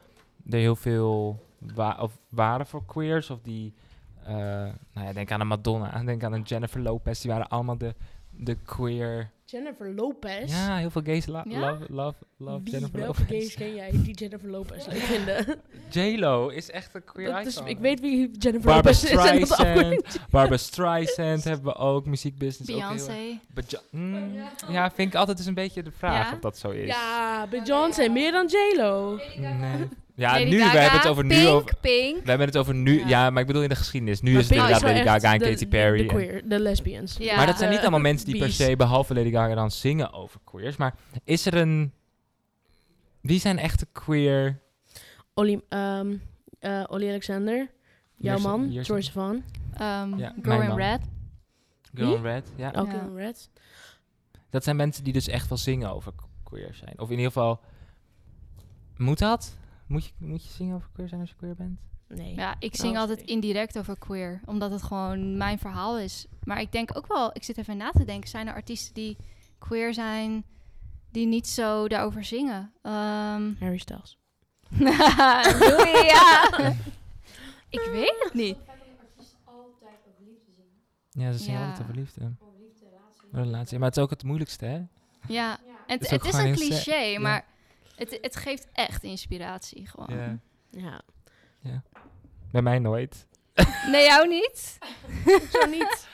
Speaker 1: er heel veel wa- of waren voor queers. Of die eh, nou ja, denk aan een Madonna, denk aan een Jennifer Lopez. Die waren allemaal de, de queer.
Speaker 2: Jennifer Lopez.
Speaker 1: Ja, heel veel gays lo-
Speaker 3: Ja?
Speaker 1: love, love, love
Speaker 2: Wie,
Speaker 1: Jennifer
Speaker 2: welke gays
Speaker 1: Lopez.
Speaker 2: ken jij die Jennifer Lopez leuk
Speaker 1: (laughs)
Speaker 2: vinden?
Speaker 1: J-Lo is echt een queer
Speaker 2: Dat is-
Speaker 1: icon.
Speaker 2: ik weet wie Jennifer
Speaker 1: Barbra
Speaker 2: Lopez is en dat is
Speaker 1: Streisand,
Speaker 2: afkorting.
Speaker 1: Barbara Streisand hebben we ook, muziekbusiness ook heel erg.
Speaker 3: Beyoncé.
Speaker 1: Bejo- mm, ja, vind ik altijd eens een beetje de vraag
Speaker 3: Ja?
Speaker 1: of dat zo is.
Speaker 2: Ja, Beyoncé, meer dan J-Lo.
Speaker 1: Nee. Ja,
Speaker 3: Lady
Speaker 1: nu, we
Speaker 3: Gaga,
Speaker 1: hebben het over nu.
Speaker 3: Pink,
Speaker 1: Over,
Speaker 3: Pink.
Speaker 1: we hebben het over nu,
Speaker 3: Ja.
Speaker 1: ja. maar ik bedoel in de geschiedenis. Nu
Speaker 2: Maar
Speaker 1: is het
Speaker 2: Pink
Speaker 1: inderdaad
Speaker 2: wel
Speaker 1: Lady
Speaker 2: echt
Speaker 1: Gaga en
Speaker 2: de-
Speaker 1: Katy Perry.
Speaker 2: De
Speaker 1: en-
Speaker 2: queer, de lesbians.
Speaker 3: Ja.
Speaker 1: Maar dat zijn niet
Speaker 2: Eh,
Speaker 1: allemaal mensen die per
Speaker 2: bies.
Speaker 1: se, behalve Lady Gaga, dan zingen over queers. Maar is er een... Wie zijn echte queer...
Speaker 2: Olly, ehm, eh, Olly Alexander,
Speaker 1: Hier
Speaker 2: jouw
Speaker 1: is-
Speaker 2: man,
Speaker 1: hier is-
Speaker 2: George Van,
Speaker 3: Ehm,
Speaker 1: Ja,
Speaker 3: Girl
Speaker 1: mijn
Speaker 3: in
Speaker 1: man.
Speaker 3: Red.
Speaker 1: Girl
Speaker 2: Wie?
Speaker 1: in Red, ja.
Speaker 2: ook
Speaker 3: Ja.
Speaker 2: in Red.
Speaker 1: Dat zijn mensen die dus echt wel zingen over queer zijn. Of in ieder geval... Moet dat? Moet je, moet je zingen over queer zijn als je queer bent?
Speaker 2: Nee.
Speaker 3: Ja, ik zing
Speaker 2: Oh,
Speaker 3: altijd
Speaker 2: sorry.
Speaker 3: indirect over queer, omdat het gewoon mijn verhaal is. Maar ik denk ook wel, ik zit even na te denken, zijn er artiesten die queer zijn, die niet zo daarover zingen? Ehm, (laughs)
Speaker 2: Harry Styles.
Speaker 3: doei, ja. (laughs) ik weet het niet.
Speaker 1: Ja, ze zingen
Speaker 3: Ja.
Speaker 1: altijd over liefde. relatie. Maar het is ook het moeilijkste, hè?
Speaker 3: Ja, het,
Speaker 1: is ook
Speaker 3: het is
Speaker 1: gewoon
Speaker 3: een
Speaker 1: heel
Speaker 3: cliché,
Speaker 1: ja.
Speaker 3: maar het, het geeft echt inspiratie gewoon.
Speaker 2: Ja.
Speaker 1: Bij mij nooit.
Speaker 3: Nee, jou niet?
Speaker 2: Zo
Speaker 1: (laughs)
Speaker 2: niet.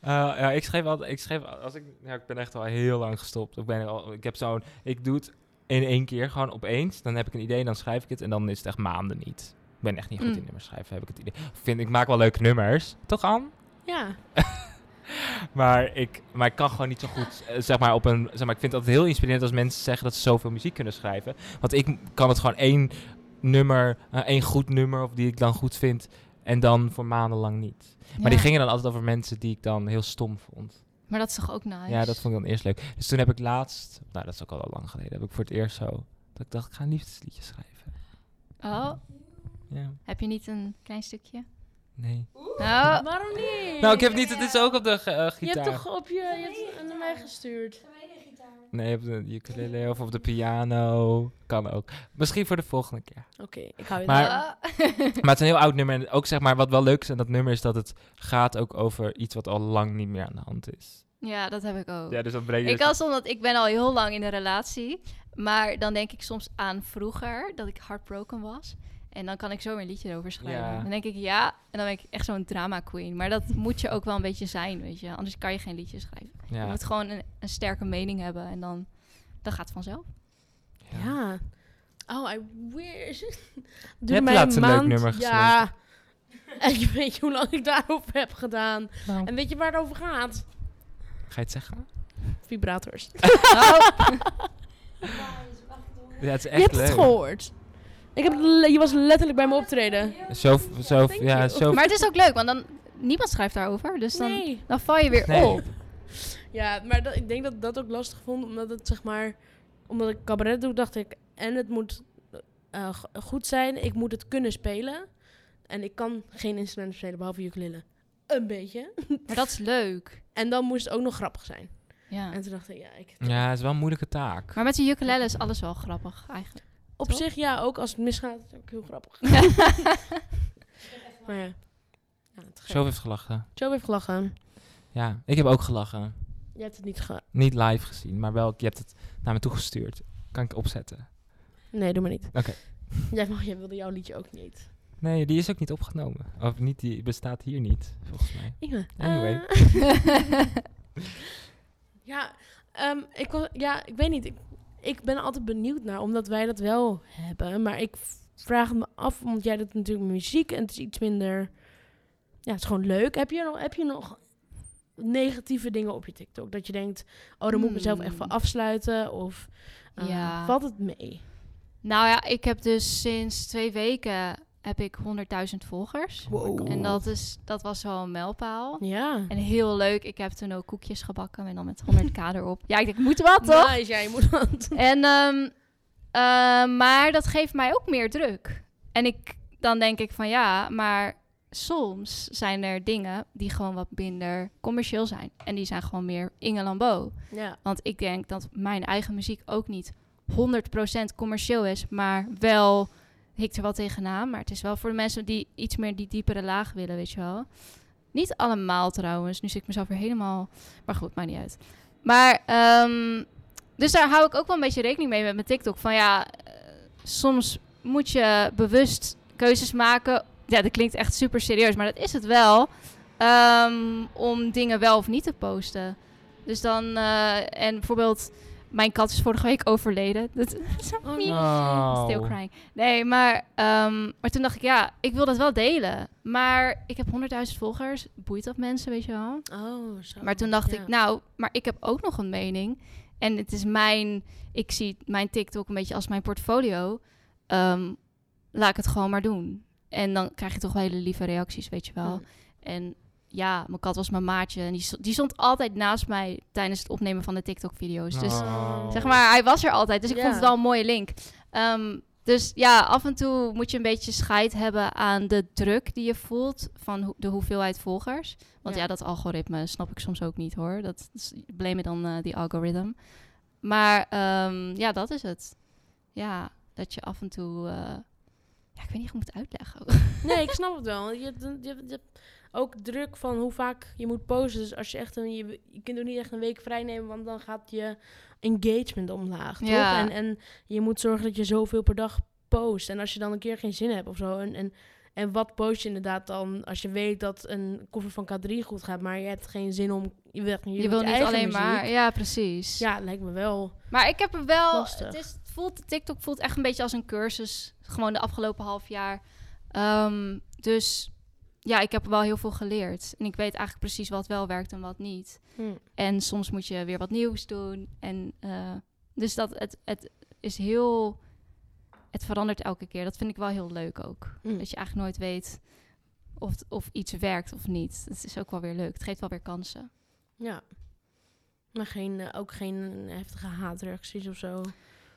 Speaker 1: Eh, ja, ik schreef altijd. Ik schreef al- als ik. Ja, ik ben echt al heel lang gestopt. Ik ben al. Ik heb zo'n. Ik doe het in één keer gewoon opeens. Dan heb ik een idee, dan schrijf ik het en dan is het echt maanden niet. Ik ben echt niet goed
Speaker 3: Mm.
Speaker 1: in nummers schrijven. Heb ik het idee. Vind ik maak wel leuke nummers, toch Anne?
Speaker 2: Ja.
Speaker 1: Maar ik, maar ik kan gewoon niet zo goed, eh, zeg maar, op een... Zeg maar, ik vind het altijd heel inspirerend als mensen zeggen dat ze zoveel muziek kunnen schrijven. Want ik m- kan het gewoon één nummer, eh, één goed nummer, of die ik dan goed vind. En dan voor maandenlang niet. Maar die
Speaker 3: Ja.
Speaker 1: gingen dan altijd over mensen die ik dan heel stom vond.
Speaker 3: Maar dat is toch ook nice?
Speaker 1: Ja, dat vond ik dan eerst leuk. Dus toen heb ik laatst, nou dat is ook al wel lang geleden, heb ik voor het eerst zo, dat ik dacht, ik ga een liefdesliedje schrijven.
Speaker 3: Oh,
Speaker 1: Ja,
Speaker 3: heb je niet een klein stukje?
Speaker 1: nee.
Speaker 3: Oh,
Speaker 2: Eh, Waarom niet?
Speaker 1: Nou, ik heb niet, het is ook op de ge- eh,
Speaker 2: Je
Speaker 1: gitaar.
Speaker 2: hebt toch op je, je hebt het naar mij gestuurd.
Speaker 1: Nee, op de ukulele of op de piano. Kan ook. Misschien voor de volgende keer.
Speaker 2: Oké, ik hou je
Speaker 1: Maar-
Speaker 2: daar.
Speaker 3: Oh. (laughs)
Speaker 1: Maar het is een heel oud nummer. En ook zeg maar, wat wel leuk is aan dat nummer, is dat het gaat ook over iets wat al lang niet meer aan de hand is.
Speaker 3: ja, dat heb ik ook.
Speaker 1: Ja, dus dat breng je...
Speaker 3: Ik kan soms, want ik ben al heel lang in een relatie. Maar dan denk ik soms aan vroeger, dat ik heartbroken was. En dan kan ik zo weer een liedje erover schrijven.
Speaker 1: Ja.
Speaker 3: Dan denk ik ja, en dan ben ik echt zo'n drama queen. Maar dat moet je ook wel een beetje zijn, weet je. Anders kan je geen liedje schrijven. Je
Speaker 1: ja.
Speaker 3: moet gewoon een, een sterke mening hebben en dan, dan gaat het vanzelf.
Speaker 1: Ja.
Speaker 2: Ja. Oh, I wish. (laughs)
Speaker 1: Je hebt laatst een leuk nummer
Speaker 2: Ja. (laughs) En je weet hoe lang ik daarover heb gedaan.
Speaker 1: Nou,
Speaker 2: En weet je waar het over gaat?
Speaker 1: Ga je het zeggen? (laughs) Oh.
Speaker 2: (laughs) Vibrators.
Speaker 1: Ja, het is echt
Speaker 2: je hebt
Speaker 1: leuk.
Speaker 2: het gehoord. Ik heb, het le- je was letterlijk bij me optreden.
Speaker 1: Zo, zo,
Speaker 2: Thank
Speaker 1: ja,
Speaker 2: you.
Speaker 1: zo.
Speaker 3: Maar het is ook leuk, want dan niemand schrijft daarover. Dus dan,
Speaker 2: Nee.
Speaker 3: dan val je weer
Speaker 1: Nee.
Speaker 3: op.
Speaker 2: Ja, maar dat, ik denk dat ik dat ook lastig vond, omdat het zeg maar, omdat ik cabaret doe, dacht ik, en het moet eh, go- goed zijn, ik moet het kunnen spelen. En ik kan geen instrumenten spelen, behalve ukulele. Een beetje.
Speaker 3: Maar dat is leuk.
Speaker 2: En dan moest het ook nog grappig zijn.
Speaker 3: Ja.
Speaker 2: En toen dacht ik, ja, ik...
Speaker 1: Ja, het is wel een moeilijke taak.
Speaker 3: Maar met de ukulele is alles wel grappig eigenlijk.
Speaker 2: Op
Speaker 3: Toch?
Speaker 2: zich, ja, ook als het misgaat, is het ook heel
Speaker 3: (laughs)
Speaker 2: grappig. (laughs) maar ja. ja het
Speaker 1: Zo heeft gelachen.
Speaker 2: Joe heeft gelachen.
Speaker 1: Ja, ik heb ook gelachen.
Speaker 2: Je hebt het niet ge...
Speaker 1: Niet live gezien, maar wel, je hebt het naar me toegestuurd. Kan ik opzetten?
Speaker 2: Nee, doe maar niet.
Speaker 1: Oké.
Speaker 2: Jij, mag, jij wilde jouw liedje ook niet.
Speaker 1: Nee, die is ook niet opgenomen. Of niet, die bestaat hier niet, volgens mij.
Speaker 2: Ja.
Speaker 1: Anyway.
Speaker 2: Eh. (laughs) Ja, Ehm, ik, wa- ja, ik weet niet. Ik, ik ben er altijd benieuwd naar, omdat wij dat wel hebben. Maar ik v- vraag het me af, want jij doet natuurlijk muziek en het is iets minder... Ja, het is gewoon leuk. Heb je nog, heb je nog negatieve dingen op je TikTok? Dat je denkt, oh, daar moet ik mezelf echt van
Speaker 3: Hmm.
Speaker 2: afsluiten. Of eh,
Speaker 3: Ja.
Speaker 2: valt het mee?
Speaker 3: Nou ja, ik heb dus sinds twee weken heb ik 100.000 volgers.
Speaker 1: Oh
Speaker 3: En dat, is, dat was wel een mijlpaal.
Speaker 2: Ja.
Speaker 3: En heel leuk, ik heb toen ook koekjes gebakken en dan met 100k erop. Ja, ik denk, moet wat toch?
Speaker 2: Nice, ja, je moet wat.
Speaker 3: En, ehm, ehm, maar dat geeft mij ook meer druk. En ik, dan denk ik van ja, maar soms zijn er dingen die gewoon wat minder commercieel zijn. En die zijn gewoon meer Inge Lambeau.
Speaker 2: (laughs) Ja.
Speaker 3: Want ik denk dat mijn eigen muziek ook niet 100% commercieel is, maar wel hikt er wel tegenaan. Maar het is wel voor de mensen die iets meer die diepere laag willen, weet je wel. Niet allemaal trouwens. Nu zit ik mezelf weer helemaal. Maar goed, maakt niet uit. Maar ehm, dus daar hou ik ook wel een beetje rekening mee met mijn TikTok. Van ja, eh, soms moet je bewust keuzes maken. Ja, dat klinkt echt super serieus, maar dat is het wel. Ehm, om dingen wel of niet te posten. Dus dan, eh, en bijvoorbeeld, mijn kat is vorige week overleden. Dat is
Speaker 2: Oh,
Speaker 3: niet-
Speaker 1: Oh.
Speaker 3: Still crying. Nee, maar, ehm, maar toen dacht ik, ja, ik wil dat wel delen. Maar ik heb 100.000 volgers. Boeit dat mensen, weet je wel?
Speaker 2: Oh, zo.
Speaker 3: Maar toen dacht
Speaker 2: Ja.
Speaker 3: ik, nou, maar ik heb ook nog een mening. En het is mijn, ik zie mijn TikTok een beetje als mijn portfolio. Ehm, laat ik het gewoon maar doen. En dan krijg je toch wel hele lieve reacties, weet je wel.
Speaker 2: Hm.
Speaker 3: En ja, mijn kat was mijn maatje. En die, sto- die stond altijd naast mij tijdens het opnemen van de TikTok-video's. Dus
Speaker 1: Oh.
Speaker 3: Zeg maar, hij was er altijd. Dus ik
Speaker 2: Ja.
Speaker 3: vond het wel een mooie link. Ehm, dus ja, af en toe moet je een beetje scheid hebben aan de druk die je voelt van hoe- de hoeveelheid volgers. Want ja.
Speaker 2: Ja.
Speaker 3: dat algoritme snap ik soms ook niet hoor. Dat is blame dan eh, die algoritme. Maar ehm, ja, dat is het. Ja, dat je af en toe. eh, ja, ik weet niet hoe ik het moet uitleggen. (laughs)
Speaker 2: Nee, ik snap het wel. Je hebt, een- je, hebt, je hebt ook druk van hoe vaak je moet posten. Dus als je echt een, je, je kunt ook niet echt een week vrij nemen, want dan gaat je engagement omlaag.
Speaker 3: Ja.
Speaker 2: Toch? En, en je moet zorgen dat je zoveel per dag post. En als je dan een keer geen zin hebt of zo. En, en, en wat post je inderdaad dan als je weet dat een koffer van K3 goed gaat, maar je hebt geen zin om. Je, wil je,
Speaker 3: Je,
Speaker 2: wilt
Speaker 3: wil
Speaker 2: je
Speaker 3: niet
Speaker 2: eigen
Speaker 3: alleen
Speaker 2: muziek.
Speaker 3: maar. Ja, precies.
Speaker 2: Ja, lijkt me wel.
Speaker 3: Maar ik heb er wel.
Speaker 2: Lastig.
Speaker 3: Het is, het voelt, TikTok voelt echt een beetje als een cursus. Gewoon de afgelopen half jaar. Ehm, dus ja, ik heb er wel heel veel geleerd. En ik weet eigenlijk precies wat wel werkt en wat niet.
Speaker 2: Hm.
Speaker 3: En soms moet je weer wat nieuws doen. En eh, dus dat het, het is heel. Het verandert elke keer. Dat vind ik wel heel leuk ook.
Speaker 2: Mm.
Speaker 3: Dat je eigenlijk nooit weet of, of iets werkt of niet. Dat is ook wel weer leuk. Het geeft wel weer kansen.
Speaker 2: Ja. Maar geen, eh, ook geen heftige haatreacties of zo.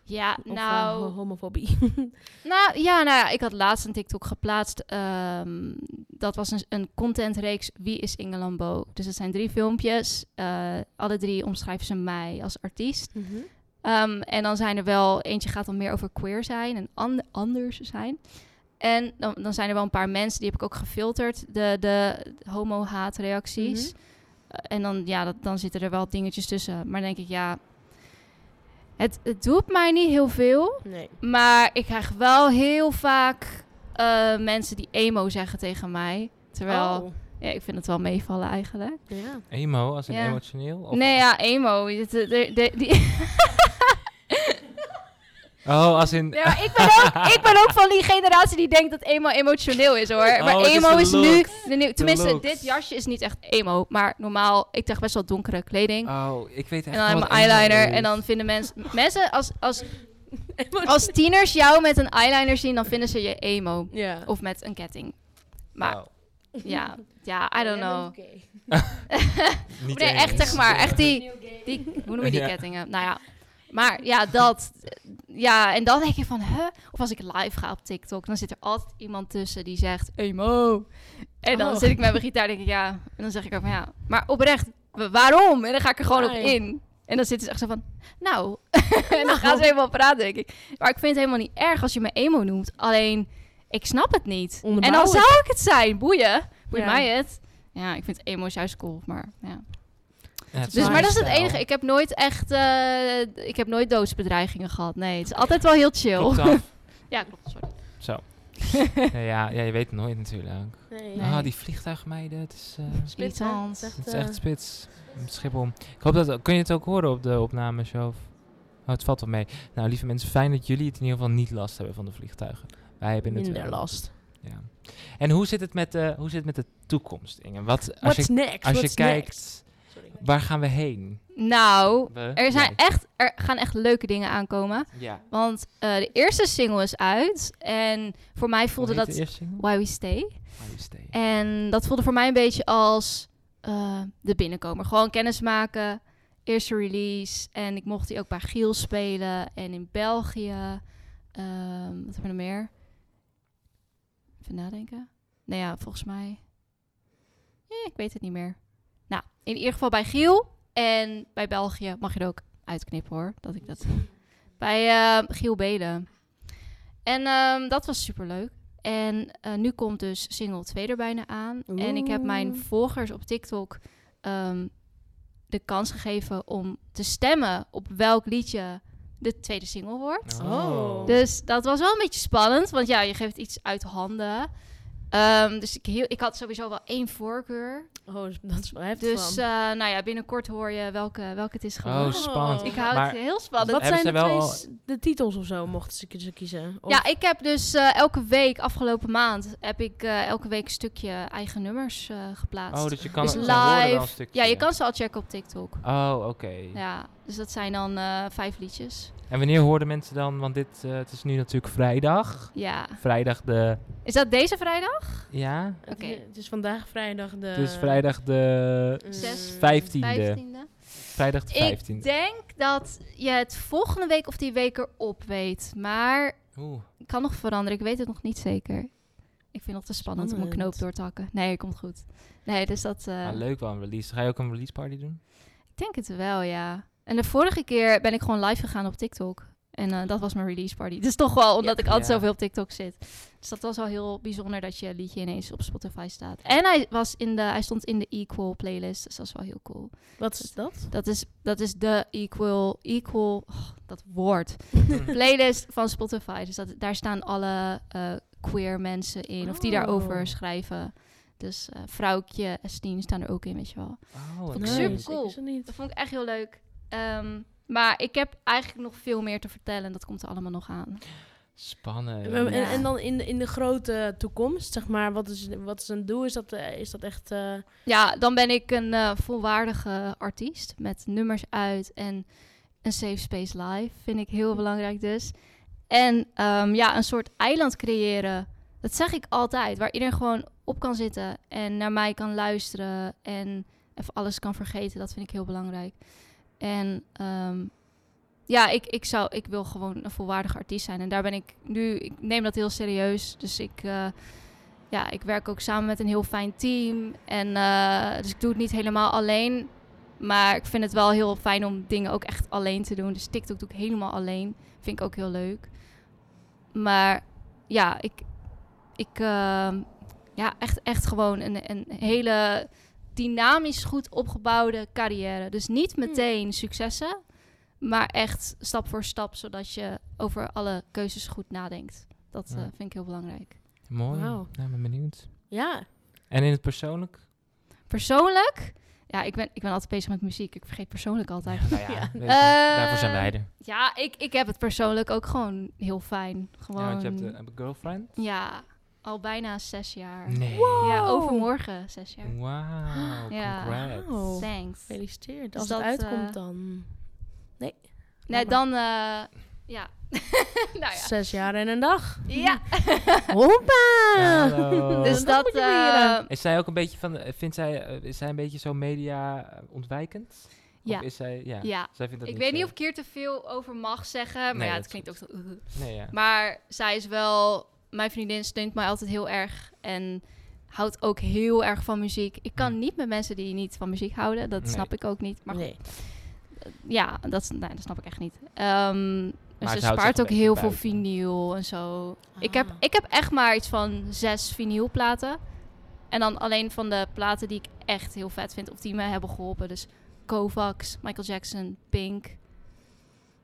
Speaker 3: Ja,
Speaker 2: Of nou,
Speaker 3: nou.
Speaker 2: homofobie. (laughs)
Speaker 3: Nou ja, nou ja, ik had laatst een TikTok geplaatst. ehm, dat was een, een contentreeks Wie is Inge Lambeau? Dus het zijn drie filmpjes. eh, alle drie omschrijven ze mij als artiest.
Speaker 2: Mhm.
Speaker 3: Ehm, en dan zijn er wel... Eentje gaat dan meer over queer zijn en an- anders zijn. En dan, dan zijn er wel een paar mensen, die heb ik ook gefilterd. De, de homo-haatreacties. Eh, En dan, ja, dat, dan zitten er wel dingetjes tussen. Maar dan denk ik, ja... Het, het doet mij niet heel veel...
Speaker 2: Nee.
Speaker 3: Maar ik krijg wel heel vaak eh, mensen die emo zeggen tegen mij. Terwijl,
Speaker 2: Oh.
Speaker 3: ja, ik vind het wel meevallen eigenlijk.
Speaker 2: Ja.
Speaker 1: Emo, als in
Speaker 3: Ja.
Speaker 1: emotioneel? Of
Speaker 3: nee, ja, emo. dit- dit- dit-
Speaker 1: (laughs)
Speaker 3: dit- die-
Speaker 1: Oh, als in...
Speaker 3: Ja, maar ik, ben ook, ik ben ook van die generatie die denkt dat emo emotioneel is hoor. maar
Speaker 1: Oh, het is
Speaker 3: emo
Speaker 1: de
Speaker 3: is, nu...
Speaker 1: look.
Speaker 3: de nieuw- tenminste,
Speaker 1: looks.
Speaker 3: dit jasje is niet echt emo. Maar normaal, ik draag best wel donkere kleding.
Speaker 1: Oh, ik weet echt
Speaker 3: en dan heb
Speaker 1: wel wat
Speaker 3: ik mijn eyeliner.
Speaker 1: emo
Speaker 3: En dan vinden
Speaker 1: (laughs)
Speaker 3: mensen... Mensen, als, als, als tieners jou met een eyeliner zien, dan vinden ze je emo.
Speaker 2: Ja.
Speaker 3: Of met een ketting.
Speaker 1: is.
Speaker 3: Maar
Speaker 1: Oh,
Speaker 3: ja, ja, I don't know.
Speaker 1: niet
Speaker 3: Nee,
Speaker 1: eens.
Speaker 3: echt zeg maar. Echt die, die hoe noem je die
Speaker 1: Ja.
Speaker 3: kettingen? Nou ja. Maar ja, dat. Ja, en dan denk je van, huh? Of als ik live ga op TikTok, dan zit er altijd iemand tussen die zegt, emo. En dan
Speaker 2: Oh.
Speaker 3: zit ik met mijn gitaar denk ik, ja. En dan zeg ik ook van, ja. Maar oprecht, wa- waarom? En dan ga ik er gewoon op
Speaker 2: Ja, ja.
Speaker 3: in. En dan zitten ze echt zo van, nou. (laughs) en dan gaan ze helemaal praten, denk ik. Maar ik vind het helemaal niet erg als je me emo noemt. Alleen, ik snap het niet. En
Speaker 2: Onderbouw
Speaker 3: dan
Speaker 2: het.
Speaker 3: zou ik het zijn. Boeien. Boeit
Speaker 2: Ja.
Speaker 3: mij het. Ja, ik vind emo juist cool, maar ja.
Speaker 1: Ja, het is
Speaker 3: Dus,
Speaker 2: Waar
Speaker 3: maar dat is het
Speaker 1: stijl.
Speaker 3: enige. Ik heb nooit echt... eh, (laughs) ik heb nooit doodsbedreigingen gehad. Nee, het is altijd wel heel chill.
Speaker 1: Klopt af.
Speaker 3: Ja, klopt. Sorry.
Speaker 1: Zo. ja, ja, je weet het nooit natuurlijk.
Speaker 2: Nee.
Speaker 3: Nee.
Speaker 1: Ah, die vliegtuigmeiden, het is, eh,
Speaker 2: Spits, hè?
Speaker 3: Irritant.
Speaker 2: Het is
Speaker 1: het is
Speaker 2: eh,
Speaker 1: echt spits. Schiphol. Ik hoop dat, kun je het ook horen op de opnames of? Oh, het valt wel mee. Nou, lieve mensen, fijn dat jullie het in ieder geval niet last hebben van de vliegtuigen. Wij hebben het
Speaker 2: minder
Speaker 1: wel.
Speaker 2: last.
Speaker 1: Ja. En hoe zit het met de, hoe zit het met de toekomst, Inge? Wat, als
Speaker 2: What's
Speaker 1: je,
Speaker 2: next?
Speaker 1: als je
Speaker 2: What's
Speaker 1: kijkt,
Speaker 2: next? Sorry.
Speaker 1: waar gaan we heen?
Speaker 3: Nou,
Speaker 1: We?
Speaker 3: er, zijn
Speaker 1: Jij.
Speaker 3: echt, er gaan echt leuke dingen aankomen.
Speaker 1: Ja.
Speaker 3: Want eh, de eerste single is uit. En voor mij voelde
Speaker 1: Hoe heet
Speaker 3: dat
Speaker 1: de eerste single?
Speaker 3: Why We Stay.
Speaker 1: Why You Stay.
Speaker 3: En dat voelde voor mij een beetje als eh, de binnenkomer. Gewoon kennis maken, eerste release. En ik mocht die ook bij Giel spelen en in België. Ehm, wat hebben we nog meer? Even nadenken. Nou ja, volgens mij. Eh, ik weet het niet meer. Nou, in ieder geval bij Giel en bij België. Mag je er ook uitknippen hoor, dat ik dat... Bij eh, Giel Beden. En ehm, dat was superleuk. En eh, nu komt dus single 2 er bijna aan. En ik heb mijn
Speaker 2: Oeh.
Speaker 3: volgers op TikTok ehm, de kans gegeven om te stemmen op welk liedje de tweede single wordt.
Speaker 2: Oh.
Speaker 3: Dus dat was wel een beetje spannend, want ja, je geeft iets uit handen. Ehm, dus ik, heel, ik had sowieso wel één voorkeur.
Speaker 2: Oh, dat is- dat is wel heftig.
Speaker 3: Dus
Speaker 2: van.
Speaker 3: eh, nou ja, binnenkort hoor je welke, welke het is
Speaker 1: Oh,
Speaker 3: geworden.
Speaker 1: spannend.
Speaker 3: ik hou
Speaker 1: maar
Speaker 3: het heel spannend.
Speaker 2: Wat
Speaker 1: hebben
Speaker 2: zijn
Speaker 1: ze
Speaker 2: de,
Speaker 1: wel
Speaker 2: twee
Speaker 1: al-
Speaker 2: s- de titels of zo, mochten ze kiezen- kiezen? Of-
Speaker 3: Ja, ik heb dus eh, elke week, afgelopen maand, heb ik eh, elke week een stukje eigen nummers eh, geplaatst.
Speaker 1: Oh, dus je kan
Speaker 3: dus
Speaker 1: ze horen wel een
Speaker 3: live.
Speaker 1: stukje.
Speaker 3: Ja, je kan ze al checken op TikTok.
Speaker 1: Oh, oké.
Speaker 3: Ja, dus dat zijn dan eh, vijf liedjes.
Speaker 1: En wanneer hoorden mensen dan, want dit, eh, het is nu natuurlijk vrijdag.
Speaker 3: Ja.
Speaker 1: Vrijdag de,
Speaker 3: Is dat deze vrijdag?
Speaker 1: ja?
Speaker 2: Het,
Speaker 3: oké.
Speaker 2: het is vandaag vrijdag de...
Speaker 1: Het is vrijdag de
Speaker 2: Mm,
Speaker 3: Eh, Zes.
Speaker 1: 15e.
Speaker 3: 15e.
Speaker 1: Vrijdag de 15e.
Speaker 3: Ik denk dat je het volgende week of die week erop weet. Maar
Speaker 1: Oeh.
Speaker 3: het kan nog veranderen. Ik weet het nog niet zeker. Ik vind het te spannend, om een
Speaker 2: Spannend.
Speaker 3: knoop door te hakken. Nee, komt goed. Nee, dus dat... eh,
Speaker 1: Ah, leuk wel een release. Ga je ook een release party doen?
Speaker 3: ik denk het wel, ja. En de vorige keer ben ik gewoon live gegaan op TikTok. En eh, dat was mijn release party. (laughs) Dus toch wel, omdat ik altijd
Speaker 1: Ja.
Speaker 3: zoveel op TikTok zit. Dus dat was wel heel bijzonder dat je liedje ineens op Spotify staat. En hij, was in de, hij stond in de Equal playlist, dus dat is wel heel cool.
Speaker 2: Wat is dat?
Speaker 3: Dat is, dat is de equal, equal, oh, dat woord, playlist van Spotify. Dus dat, daar staan alle eh, queer mensen in, of die daarover
Speaker 2: Oh.
Speaker 3: schrijven. Dus eh Vrouwkje, Estine staan er ook in, weet je wel.
Speaker 1: Oh,
Speaker 3: Vond
Speaker 1: wat
Speaker 3: ik
Speaker 1: leuk.
Speaker 3: super cool.
Speaker 2: Ik is het niet.
Speaker 3: Dat vond ik echt heel leuk. Ehm, maar ik heb eigenlijk nog veel meer te vertellen. en Dat komt er allemaal nog aan.
Speaker 1: Spannend.
Speaker 2: En, en-
Speaker 3: Ja.
Speaker 2: en dan in de, in de grote toekomst, zeg maar, wat is, wat is een doel? Is dat, eh, is dat echt... eh,
Speaker 3: Ja, dan ben ik een eh, volwaardige artiest met nummers uit en een safe space live vind ik heel belangrijk dus. En ehm, ja, een soort eiland creëren, dat zeg ik altijd, waar iedereen gewoon op kan zitten en naar mij kan luisteren en even alles kan vergeten, dat vind ik heel belangrijk. En ehm, ja, ik, ik, zou, ik wil gewoon een volwaardige artiest zijn en daar ben ik nu, ik neem dat heel serieus, dus ik... eh, ja, ik werk ook samen met een heel fijn team. En eh, dus ik doe het niet helemaal alleen. Maar ik vind het wel heel fijn om dingen ook echt alleen te doen. Dus TikTok doe ik helemaal alleen. Vind ik ook heel leuk. Maar ja, ik. ik ehm, ja, echt, echt gewoon een, een hele dynamisch goed opgebouwde carrière. Dus niet meteen successen, maar echt stap voor stap, zodat je over alle keuzes goed nadenkt. Dat eh,
Speaker 1: Ja.
Speaker 3: vind ik heel belangrijk.
Speaker 1: Mooi.
Speaker 2: Wauw.
Speaker 1: Nou, ik ben benieuwd.
Speaker 2: ja,
Speaker 1: En in het persoonlijk?
Speaker 3: Persoonlijk? Ja, ik ben, ik ben altijd bezig met muziek. Ik vergeet persoonlijk altijd.
Speaker 1: Nou
Speaker 3: (laughs)
Speaker 1: ja, weet je,
Speaker 3: Eh,
Speaker 1: daarvoor zijn wij er.
Speaker 3: Ja, ik, ik heb het persoonlijk ook gewoon heel fijn. Gewoon,
Speaker 1: Ja, want je hebt eh, een girlfriend?
Speaker 3: Ehm, Ja, al bijna zes jaar.
Speaker 1: Nee.
Speaker 2: Oh.
Speaker 3: Ja, overmorgen zes jaar.
Speaker 1: Wauw,
Speaker 3: Ja.
Speaker 1: congrats.
Speaker 2: Wauw.
Speaker 3: Thanks.
Speaker 2: Oh, gefeliciteerd.
Speaker 3: Dus
Speaker 2: Als
Speaker 3: dat,
Speaker 2: het uitkomt
Speaker 3: eh,
Speaker 2: dan...
Speaker 3: Nee,
Speaker 2: jammer.
Speaker 3: dan... eh, ja. (laughs) nou ja.
Speaker 2: Zes jaar en een dag.
Speaker 3: Ja,
Speaker 2: Hoppa!
Speaker 1: Hallo.
Speaker 3: dus
Speaker 2: (laughs) dan
Speaker 3: dat...
Speaker 2: moet je leren.
Speaker 3: eh,
Speaker 1: Is zij ook een beetje van, eh, vindt zij, eh, is zij een beetje zo media eh, ontwijkend?
Speaker 3: Ja.
Speaker 1: Of is zij, ja.
Speaker 3: ja.
Speaker 1: Zij vindt dat
Speaker 3: Ik weet niet
Speaker 1: zo.
Speaker 3: of ik hier te veel over mag zeggen. Maar
Speaker 1: Nee,
Speaker 3: ja,
Speaker 1: dat
Speaker 3: het klinkt ook zo...
Speaker 1: Nee, ja.
Speaker 3: Maar zij is wel... Mijn vriendin steunt mij altijd heel erg. En houdt ook heel erg van muziek. Ik kan
Speaker 1: Hm.
Speaker 3: niet met mensen die niet van muziek houden. Dat
Speaker 1: Nee.
Speaker 3: snap ik ook niet. Maar goed,
Speaker 2: nee.
Speaker 3: ja, dat, is- nee, dat snap ik echt niet. Ehm
Speaker 1: Maar
Speaker 3: ze
Speaker 1: ze houdt
Speaker 3: spaart
Speaker 1: zich
Speaker 3: ook
Speaker 1: een
Speaker 3: heel
Speaker 1: beetje
Speaker 3: veel
Speaker 1: buiten.
Speaker 3: vinyl en zo. Ik, heb,
Speaker 2: Ah.
Speaker 3: ik heb echt maar iets van zes vinylplaten. En dan alleen van de platen die ik echt heel vet vind. Of die me hebben geholpen. Dus Kovacs, Michael Jackson, Pink.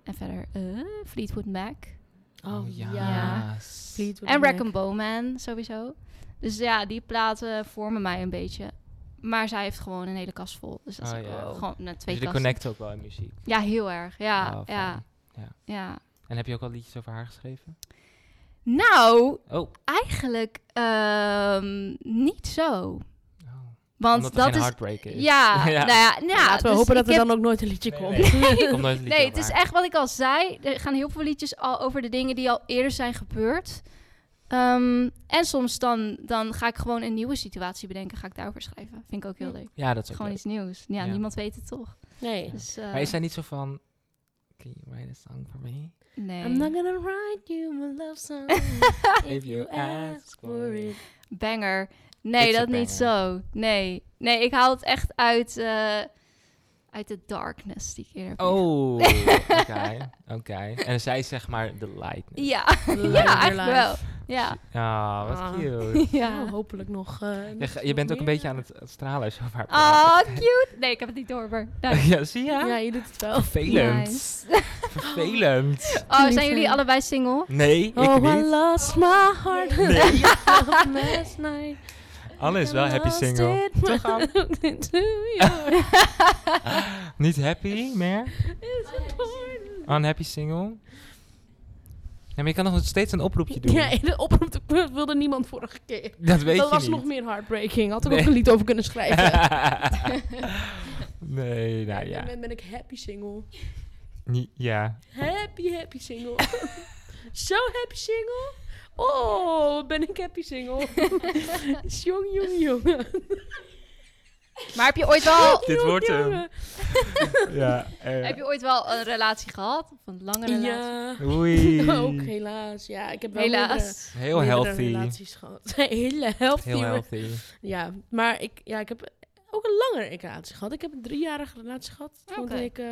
Speaker 3: En verder eh, Fleetwood Mac.
Speaker 2: Oh ja.
Speaker 3: Ja.
Speaker 1: Dus
Speaker 2: Fleetwood
Speaker 3: En
Speaker 2: Mac.
Speaker 3: Rackham Bowman sowieso. Dus ja, die platen vormen mij een beetje. Maar zij heeft gewoon een hele kast vol. Dus dat
Speaker 1: Oh,
Speaker 3: is ook
Speaker 1: ja. Dus
Speaker 3: wel gewoon nou, twee
Speaker 1: Jullie
Speaker 3: kasten.
Speaker 1: connecten ook wel in muziek.
Speaker 3: Ja, heel erg. Ja,
Speaker 1: Oh, fijn.
Speaker 3: ja, ja.
Speaker 1: En heb je ook al liedjes over haar geschreven?
Speaker 3: Nou,
Speaker 1: Oh.
Speaker 3: eigenlijk ehm, niet zo.
Speaker 1: oh.
Speaker 3: Want
Speaker 1: Omdat er
Speaker 3: dat
Speaker 1: geen
Speaker 3: is...
Speaker 1: heartbreak is. (laughs)
Speaker 3: Ja, nou ja, nou ja,
Speaker 2: Laten we
Speaker 3: dus
Speaker 2: hopen dat
Speaker 3: ik
Speaker 2: er
Speaker 3: heb-
Speaker 2: dan ook nooit een liedje
Speaker 1: Nee,
Speaker 2: komt.
Speaker 1: nee. Komt nooit een liedje
Speaker 3: Nee, het is
Speaker 1: over
Speaker 3: echt wat ik al zei. Er gaan heel veel liedjes al over de dingen die al eerder zijn gebeurd. Ehm, en soms dan, dan ga ik gewoon een nieuwe situatie bedenken. Ga ik daarover schrijven. Vind ik ook
Speaker 2: Hm.
Speaker 3: heel leuk.
Speaker 1: haar. Ja, dat is ook
Speaker 3: Gewoon
Speaker 1: leuk.
Speaker 3: iets nieuws. Ja,
Speaker 1: Ja.
Speaker 3: niemand weet het toch.
Speaker 2: Nee.
Speaker 3: Dus, eh,
Speaker 1: Maar is zij niet zo van... Can you write a song for me?
Speaker 2: I'm not
Speaker 3: (laughs) Nee.
Speaker 2: gonna write you my love (laughs) song if you ask for it.
Speaker 3: Banger. Nee,
Speaker 1: It's a
Speaker 3: dat niet zo. Nee. Nee, ik haal het echt uit, eh, uit de darkness die ik eerder heb
Speaker 2: (laughs)
Speaker 1: Oh, oké. Oké. En zij is zeg maar de lightning.
Speaker 3: Ja,
Speaker 2: Live
Speaker 3: (laughs) ja
Speaker 2: your
Speaker 3: eigenlijk wel.
Speaker 2: life.
Speaker 3: Ja.
Speaker 1: Ah, wat
Speaker 2: Ah. (laughs)
Speaker 1: cute.
Speaker 2: Nou,
Speaker 3: (laughs) ja.
Speaker 2: hopelijk nog. eh,
Speaker 1: Je,
Speaker 2: nog
Speaker 1: ga- je bent ook een
Speaker 2: meer.
Speaker 1: beetje aan het, het stralen als je over haar (laughs)
Speaker 3: Oh,
Speaker 1: praat.
Speaker 3: cute. Nee, ik heb het niet door, maar... Nou,
Speaker 2: (laughs)
Speaker 1: ja, zie je?
Speaker 2: Ah, Ja, je doet het wel.
Speaker 1: Vervelend.
Speaker 3: nice.
Speaker 2: (laughs)
Speaker 1: Vervelend.
Speaker 3: Oh, zijn
Speaker 2: Lieve.
Speaker 3: jullie allebei single?
Speaker 1: Nee, ik
Speaker 2: Oh, I
Speaker 1: niet.
Speaker 2: lost my heart (laughs)
Speaker 1: Nee.
Speaker 2: last night.
Speaker 1: Anne is wel
Speaker 2: I
Speaker 1: happy
Speaker 2: lost
Speaker 1: single.
Speaker 2: it
Speaker 1: Toch,
Speaker 4: Ah.
Speaker 1: Anne?
Speaker 4: (laughs)
Speaker 2: to you.
Speaker 1: Niet
Speaker 2: (laughs)
Speaker 1: happy meer?
Speaker 2: It's important.
Speaker 1: Unhappy single? Ja, maar je kan nog steeds een oproepje doen.
Speaker 2: Ja, de oproep dat wilde niemand vorige keer.
Speaker 1: Dat weet
Speaker 2: dat
Speaker 1: je
Speaker 2: was
Speaker 1: niet.
Speaker 2: nog meer heartbreaking. Had ik
Speaker 1: Nee.
Speaker 2: ook een lied over kunnen (laughs) schrijven.
Speaker 1: (laughs) nee, nou
Speaker 2: En
Speaker 1: ja.
Speaker 2: dan ben ik happy single.
Speaker 1: Niet, ja.
Speaker 2: Happy, happy single. (laughs) Zo happy single. Oh, ben ik happy
Speaker 3: (laughs)
Speaker 2: single. jong, jong, jong.
Speaker 3: Oh. Maar heb je ooit wel,
Speaker 1: Dit wordt hem.
Speaker 2: (laughs)
Speaker 1: ja, eh,
Speaker 3: heb je ooit wel een relatie gehad? Of een lange relatie?
Speaker 2: Ja. (laughs)
Speaker 1: Oei.
Speaker 2: Ook helaas. Ja, ik heb wel meerdere-
Speaker 3: Helaas.
Speaker 1: Heel
Speaker 2: meerdere
Speaker 1: healthy.
Speaker 2: relaties gehad. (laughs) Hele healthy.
Speaker 1: Heel healthy.
Speaker 2: Ja, maar ik, ja, ik heb ook een langere relatie gehad. Ik heb een driejarige relatie gehad. Toen
Speaker 3: Oké.
Speaker 2: deed ik eh,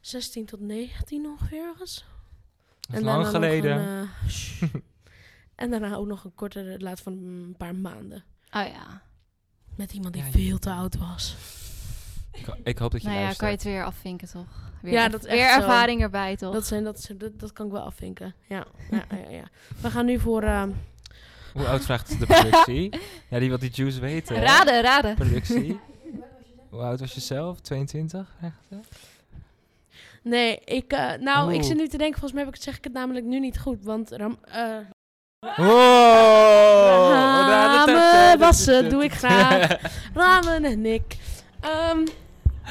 Speaker 2: 16 tot 19 ongeveer ergens.
Speaker 1: Dat is lang
Speaker 2: daarna nog
Speaker 1: geleden.
Speaker 2: een, eh, shh.
Speaker 1: (laughs)
Speaker 2: en daarna ook nog een korte relatie van een paar maanden.
Speaker 3: Oh ja.
Speaker 2: Met iemand die
Speaker 1: Ja, ja.
Speaker 2: veel te oud was.
Speaker 1: ik, ho- ik hoop dat je
Speaker 3: Nou ja,
Speaker 1: luistert.
Speaker 3: kan je het weer afvinken toch? Weer,
Speaker 2: Ja, dat is echt
Speaker 3: weer
Speaker 2: zo.
Speaker 3: ervaring erbij toch?
Speaker 2: Dat, zijn, dat, zijn- dat, dat kan ik wel afvinken. Ja, ja, ja, ja. We gaan nu voor... ehm,
Speaker 1: Hoe oud vraagt de productie?
Speaker 2: (laughs)
Speaker 1: ja, die wil die juice weten. hè?
Speaker 3: raden, raden.
Speaker 1: Productie. Hoe oud was je zelf? 22? Echt?
Speaker 2: (laughs)
Speaker 1: hè?
Speaker 2: nee, ik... eh, nou, ik
Speaker 1: Oeh.
Speaker 2: zit nu te denken. Volgens mij heb ik, zeg ik het namelijk nu niet goed. Want... Ram, eh,
Speaker 1: Wow!
Speaker 2: Ramen wassen doe ik
Speaker 1: (laughs)
Speaker 2: graag. Ramen en ik. Ehm,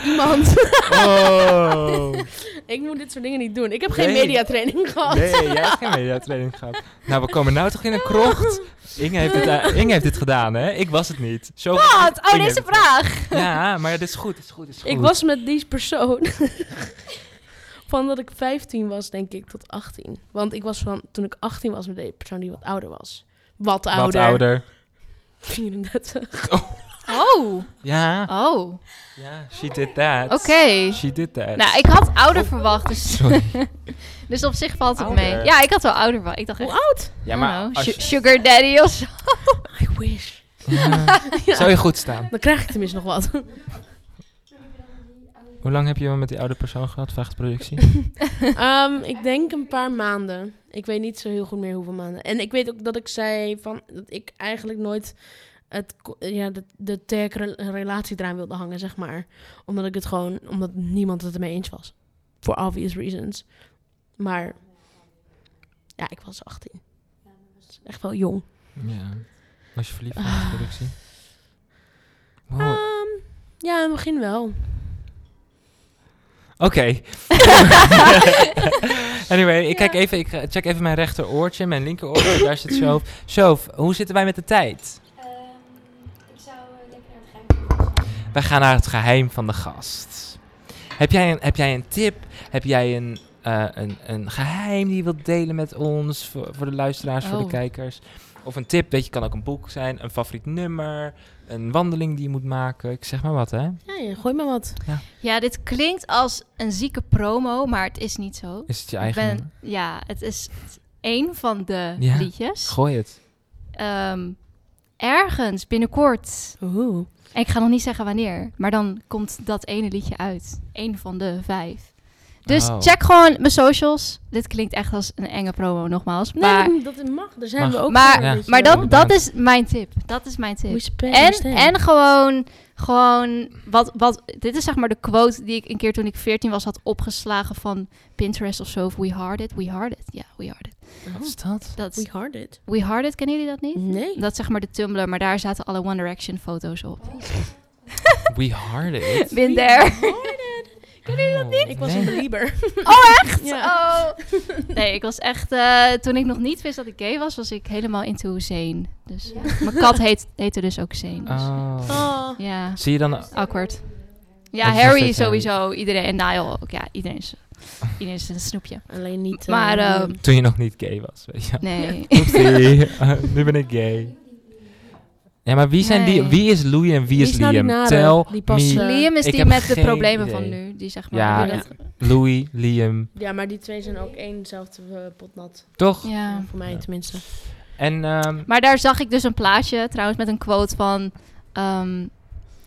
Speaker 2: iemand. (laughs)
Speaker 1: Oh!
Speaker 2: ik moet dit soort dingen niet doen. Ik heb geen
Speaker 1: Nee.
Speaker 2: mediatraining (laughs) gehad.
Speaker 1: Nee, jij hebt geen mediatraining gehad. Nou, we komen nou toch in een
Speaker 2: (laughs)
Speaker 1: krocht? Inge heeft dit, eh, Inge heeft dit gedaan, hè? Ik was het niet. Zo
Speaker 3: Wat? Oh,
Speaker 1: Inge
Speaker 3: deze
Speaker 1: heeft het gedaan.
Speaker 3: vraag. (laughs)
Speaker 1: Ja, maar dit is goed, dit is goed, dit is goed.
Speaker 2: Ik was met die persoon. (laughs) van dat ik 15 was, denk ik, tot 18. Want ik was van, toen ik 18 was met deze persoon die wat ouder was. Wat ouder.
Speaker 1: Wat
Speaker 2: (laughs)
Speaker 1: ouder.
Speaker 2: 34.
Speaker 3: Oh.
Speaker 1: Ja,
Speaker 3: Oh.
Speaker 1: ja, she did that.
Speaker 3: Oké.
Speaker 1: She did that.
Speaker 3: Nou, ik had ouder verwacht, dus, (laughs) dus op zich valt het mee.
Speaker 1: Oh. Ouder.
Speaker 3: Ja, ik had wel ouder verwacht. Ik dacht echt,
Speaker 2: Hoe oud?
Speaker 1: ja,
Speaker 3: I don't
Speaker 1: maar
Speaker 3: know,
Speaker 1: als
Speaker 3: su-
Speaker 1: je-
Speaker 3: sugar daddy of zo.
Speaker 2: I wish.
Speaker 1: Ja.
Speaker 3: (laughs)
Speaker 1: Zou je goed staan?
Speaker 2: Dan krijg ik tenminste nog wat.
Speaker 1: Hoe lang heb je met die oude persoon gehad? Vraagt
Speaker 3: (laughs)
Speaker 1: productie.
Speaker 2: Ehm, ik denk een paar maanden. Ik weet niet zo heel goed meer hoeveel maanden. En ik weet ook dat ik zei van dat ik eigenlijk nooit het, ko- ja, de, de tag re- relatie eraan wilde hangen, zeg maar. Omdat ik het gewoon, omdat niemand het ermee eens was. For obvious reasons. Maar ja, ik was 18. Dat is Echt wel jong.
Speaker 1: Ja. Was je verliefd
Speaker 3: Ah.
Speaker 1: op productie?
Speaker 3: Oh.
Speaker 1: Wow.
Speaker 2: Ehm, ja, in het begin wel.
Speaker 1: Oké.
Speaker 3: (laughs)
Speaker 1: anyway, ik, kijk even, ik eh, check even mijn rechteroortje, mijn linkeroortje. daar zit Shoof. Shoof, hoe zitten wij met de tijd? Wij gaan naar het geheim van de gast. Heb jij een, heb jij een tip? Heb jij een, eh, een, een geheim die je wilt delen met ons? Voor, voor de luisteraars, voor
Speaker 3: Oh.
Speaker 1: de kijkers? Of een tip, weet je, kan ook een boek zijn, een favoriet nummer, een wandeling die je moet maken. Ik zeg maar wat, hè?
Speaker 2: Ja, ja, gooi maar wat.
Speaker 3: Ja, dit klinkt als een zieke promo, maar het is niet zo.
Speaker 1: Is het je
Speaker 3: Ik
Speaker 1: eigen? nummer?
Speaker 3: ben, ja, het is één van de
Speaker 1: Ja.
Speaker 3: liedjes.
Speaker 1: Gooi het.
Speaker 3: Ehm, ergens binnenkort.
Speaker 2: Oeh.
Speaker 3: En ik ga nog niet zeggen wanneer, maar dan komt dat ene liedje uit. Eén van de vijf. Dus
Speaker 1: Oh.
Speaker 3: check gewoon mijn socials. Dit klinkt echt als een enge promo, nogmaals.
Speaker 2: Nee,
Speaker 3: maar
Speaker 2: dat, dat mag. Daar zijn
Speaker 1: Mag.
Speaker 2: we ook
Speaker 3: Maar-
Speaker 2: voor, dus, eh,
Speaker 1: Ja.
Speaker 2: weet je
Speaker 3: maar
Speaker 2: wel.
Speaker 3: dat, dat is mijn tip. Dat is mijn tip.
Speaker 2: Respect,
Speaker 3: En,
Speaker 2: respect.
Speaker 3: en gewoon, gewoon wat, wat, dit is zeg maar de quote die ik een keer toen ik 14 was had opgeslagen van Pinterest of zo. Of we hard it, we hard it. Ja, we hard it.
Speaker 1: Wat is dat?
Speaker 3: Dat is-
Speaker 2: We hard it.
Speaker 3: we hard it, kennen jullie dat niet?
Speaker 2: Nee.
Speaker 3: Dat is zeg maar de Tumblr, maar daar zaten alle One Direction foto's op.
Speaker 1: We hard
Speaker 2: (laughs)
Speaker 1: it.
Speaker 3: Been there.
Speaker 1: Kunnen jullie dat niet?
Speaker 2: Ik was een Bieber.
Speaker 3: (laughs) Oh, echt?
Speaker 2: Ja.
Speaker 3: Oh. Nee, ik was echt... eh, toen ik nog niet wist dat ik gay was, was ik helemaal into Zane. Dus, Mijn kat heet, heette dus ook Zane. dus-
Speaker 1: Oh.
Speaker 2: Oh.
Speaker 3: Ja,
Speaker 1: Zie je dan... eh,
Speaker 3: awkward.
Speaker 1: Dat
Speaker 3: Ja,
Speaker 1: is dus
Speaker 3: Harry
Speaker 1: echt, ja.
Speaker 3: sowieso. Iedereen. En Niall ook. Ja, iedereen is, iedereen is een snoepje.
Speaker 2: Alleen niet... eh,
Speaker 3: Maar, ehm,
Speaker 1: Toen je nog niet gay was, weet je (laughs) wel.
Speaker 3: Nee.
Speaker 1: Oepsie, eh, nu ben ik gay. Ja, maar wie, zijn die,
Speaker 3: Nee.
Speaker 1: wie is Louis en wie,
Speaker 2: Wie
Speaker 1: is
Speaker 2: is nou die
Speaker 1: Liam?
Speaker 2: nare?
Speaker 1: Tel
Speaker 2: Die passen-
Speaker 1: me-
Speaker 3: Liam is
Speaker 1: Ik
Speaker 3: die
Speaker 1: heb
Speaker 3: met de
Speaker 1: geen
Speaker 3: problemen
Speaker 1: idee.
Speaker 3: van nu. Die zeg maar...
Speaker 1: Ja,
Speaker 3: die dat-
Speaker 1: Louis, Liam,
Speaker 2: Ja, maar die twee zijn ook éénzelfde eh, pot nat.
Speaker 1: toch?
Speaker 3: ja.
Speaker 2: Voor mij
Speaker 1: Ja.
Speaker 2: tenminste.
Speaker 1: En ehm,
Speaker 3: Maar daar zag ik dus een plaatje trouwens met een quote van... ehm,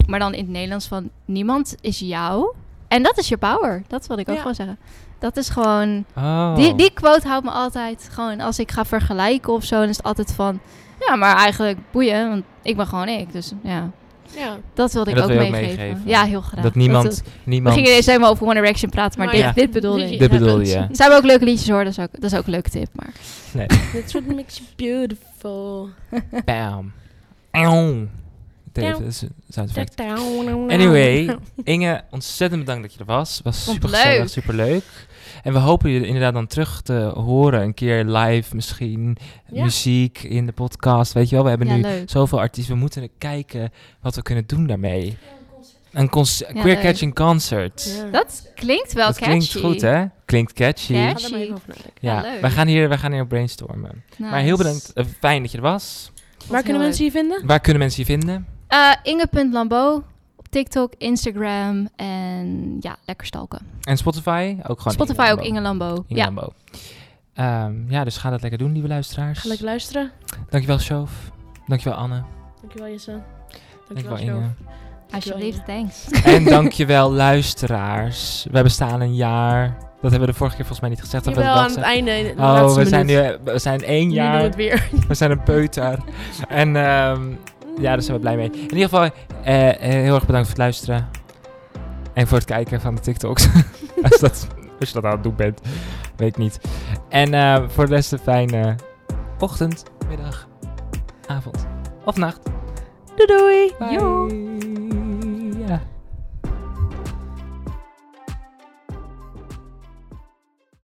Speaker 3: maar dan in het Nederlands van... Niemand is jou. En dat is je power. Dat wil ik ook
Speaker 2: Ja.
Speaker 3: gewoon zeggen. Dat is gewoon...
Speaker 1: oh.
Speaker 3: Die, die quote houdt me altijd gewoon... Als ik ga vergelijken of zo, dan is het altijd van... Ja, maar eigenlijk boeien, want ik ben gewoon ik. Dus ja,
Speaker 2: Ja.
Speaker 3: dat wilde
Speaker 1: En
Speaker 3: ik
Speaker 1: dat
Speaker 3: ook
Speaker 1: wil je ook
Speaker 3: meegeven.
Speaker 1: meegeven.
Speaker 3: Ja, heel graag.
Speaker 1: dat niemand,
Speaker 3: we
Speaker 1: niemand.
Speaker 3: gingen ineens helemaal over One Direction praten, maar
Speaker 2: Maar
Speaker 3: dit,
Speaker 1: ja.
Speaker 3: dit bedoelde ik.
Speaker 1: Dit bedoelde je.
Speaker 2: (laughs)
Speaker 3: Ze hebben ook leuke liedjes hoor, dat is ook, dat is ook een leuke tip. Maar
Speaker 2: That's what makes you beautiful.
Speaker 1: Bam. Auw. Dave, dat is een sound effect. Anyway, Inge, ontzettend bedankt dat je er was. Was
Speaker 3: Vond
Speaker 1: super
Speaker 3: het
Speaker 1: gezellig,
Speaker 3: leuk.
Speaker 1: super leuk. En we hopen je inderdaad dan terug te horen. Een keer live misschien.
Speaker 2: Ja.
Speaker 1: Muziek in de podcast. Weet je wel, we hebben
Speaker 3: ja,
Speaker 1: nu
Speaker 3: leuk.
Speaker 1: zoveel artiesten. We moeten kijken wat we kunnen doen daarmee. Een conce-
Speaker 3: Ja,
Speaker 1: queer
Speaker 3: leuk.
Speaker 1: catching concert.
Speaker 3: Dat klinkt wel
Speaker 1: dat
Speaker 3: catchy.
Speaker 1: klinkt goed, hè? Klinkt catchy.
Speaker 3: Catchy.
Speaker 2: Ga er maar even over nadenken.
Speaker 1: Ja,
Speaker 3: Ja, leuk.
Speaker 1: wij gaan hier, wij gaan hier op brainstormen.
Speaker 3: Nice.
Speaker 1: Maar heel bedankt. eh, fijn dat je er was.
Speaker 2: Waar kunnen
Speaker 3: heel
Speaker 2: mensen je vinden?
Speaker 1: Waar kunnen mensen je vinden?
Speaker 3: Eh, Inge.Lambeau op TikTok, Instagram en ja, lekker stalken.
Speaker 1: En Spotify? Ook gewoon
Speaker 3: Spotify
Speaker 1: Inge
Speaker 3: ook Inge Lambeau.
Speaker 1: Inge
Speaker 3: Ja,
Speaker 1: Lambo. Ehm, ja, dus ga dat lekker doen, lieve luisteraars.
Speaker 2: Ga lekker luisteren.
Speaker 1: Dankjewel, Shoof. Dankjewel, Anne.
Speaker 2: Dankjewel Jesse.
Speaker 1: Dankjewel,
Speaker 2: Sjoerd.
Speaker 1: Inge.
Speaker 3: alsjeblieft, thanks.
Speaker 1: en dankjewel, luisteraars. We bestaan een jaar. Dat hebben we de vorige keer volgens mij niet gezegd. of we
Speaker 2: Jawel,
Speaker 1: hebben
Speaker 2: aan het
Speaker 1: wel
Speaker 2: einde. in de
Speaker 1: gezegd.
Speaker 2: laatste
Speaker 1: Oh, we
Speaker 2: minuut.
Speaker 1: zijn, nu, we zijn één
Speaker 2: Nu doen we
Speaker 1: jaar.
Speaker 2: het weer.
Speaker 1: We zijn een peuter. en ehm, ja, daar zijn we blij mee. In ieder geval, eh, eh, heel erg bedankt voor het luisteren. En voor het kijken van de TikToks. (laughs) als, dat, als je dat aan het doen bent. Weet ik niet. En eh, voor de rest een fijne ochtend, middag, avond of nacht.
Speaker 2: Doei doei.
Speaker 1: Bye.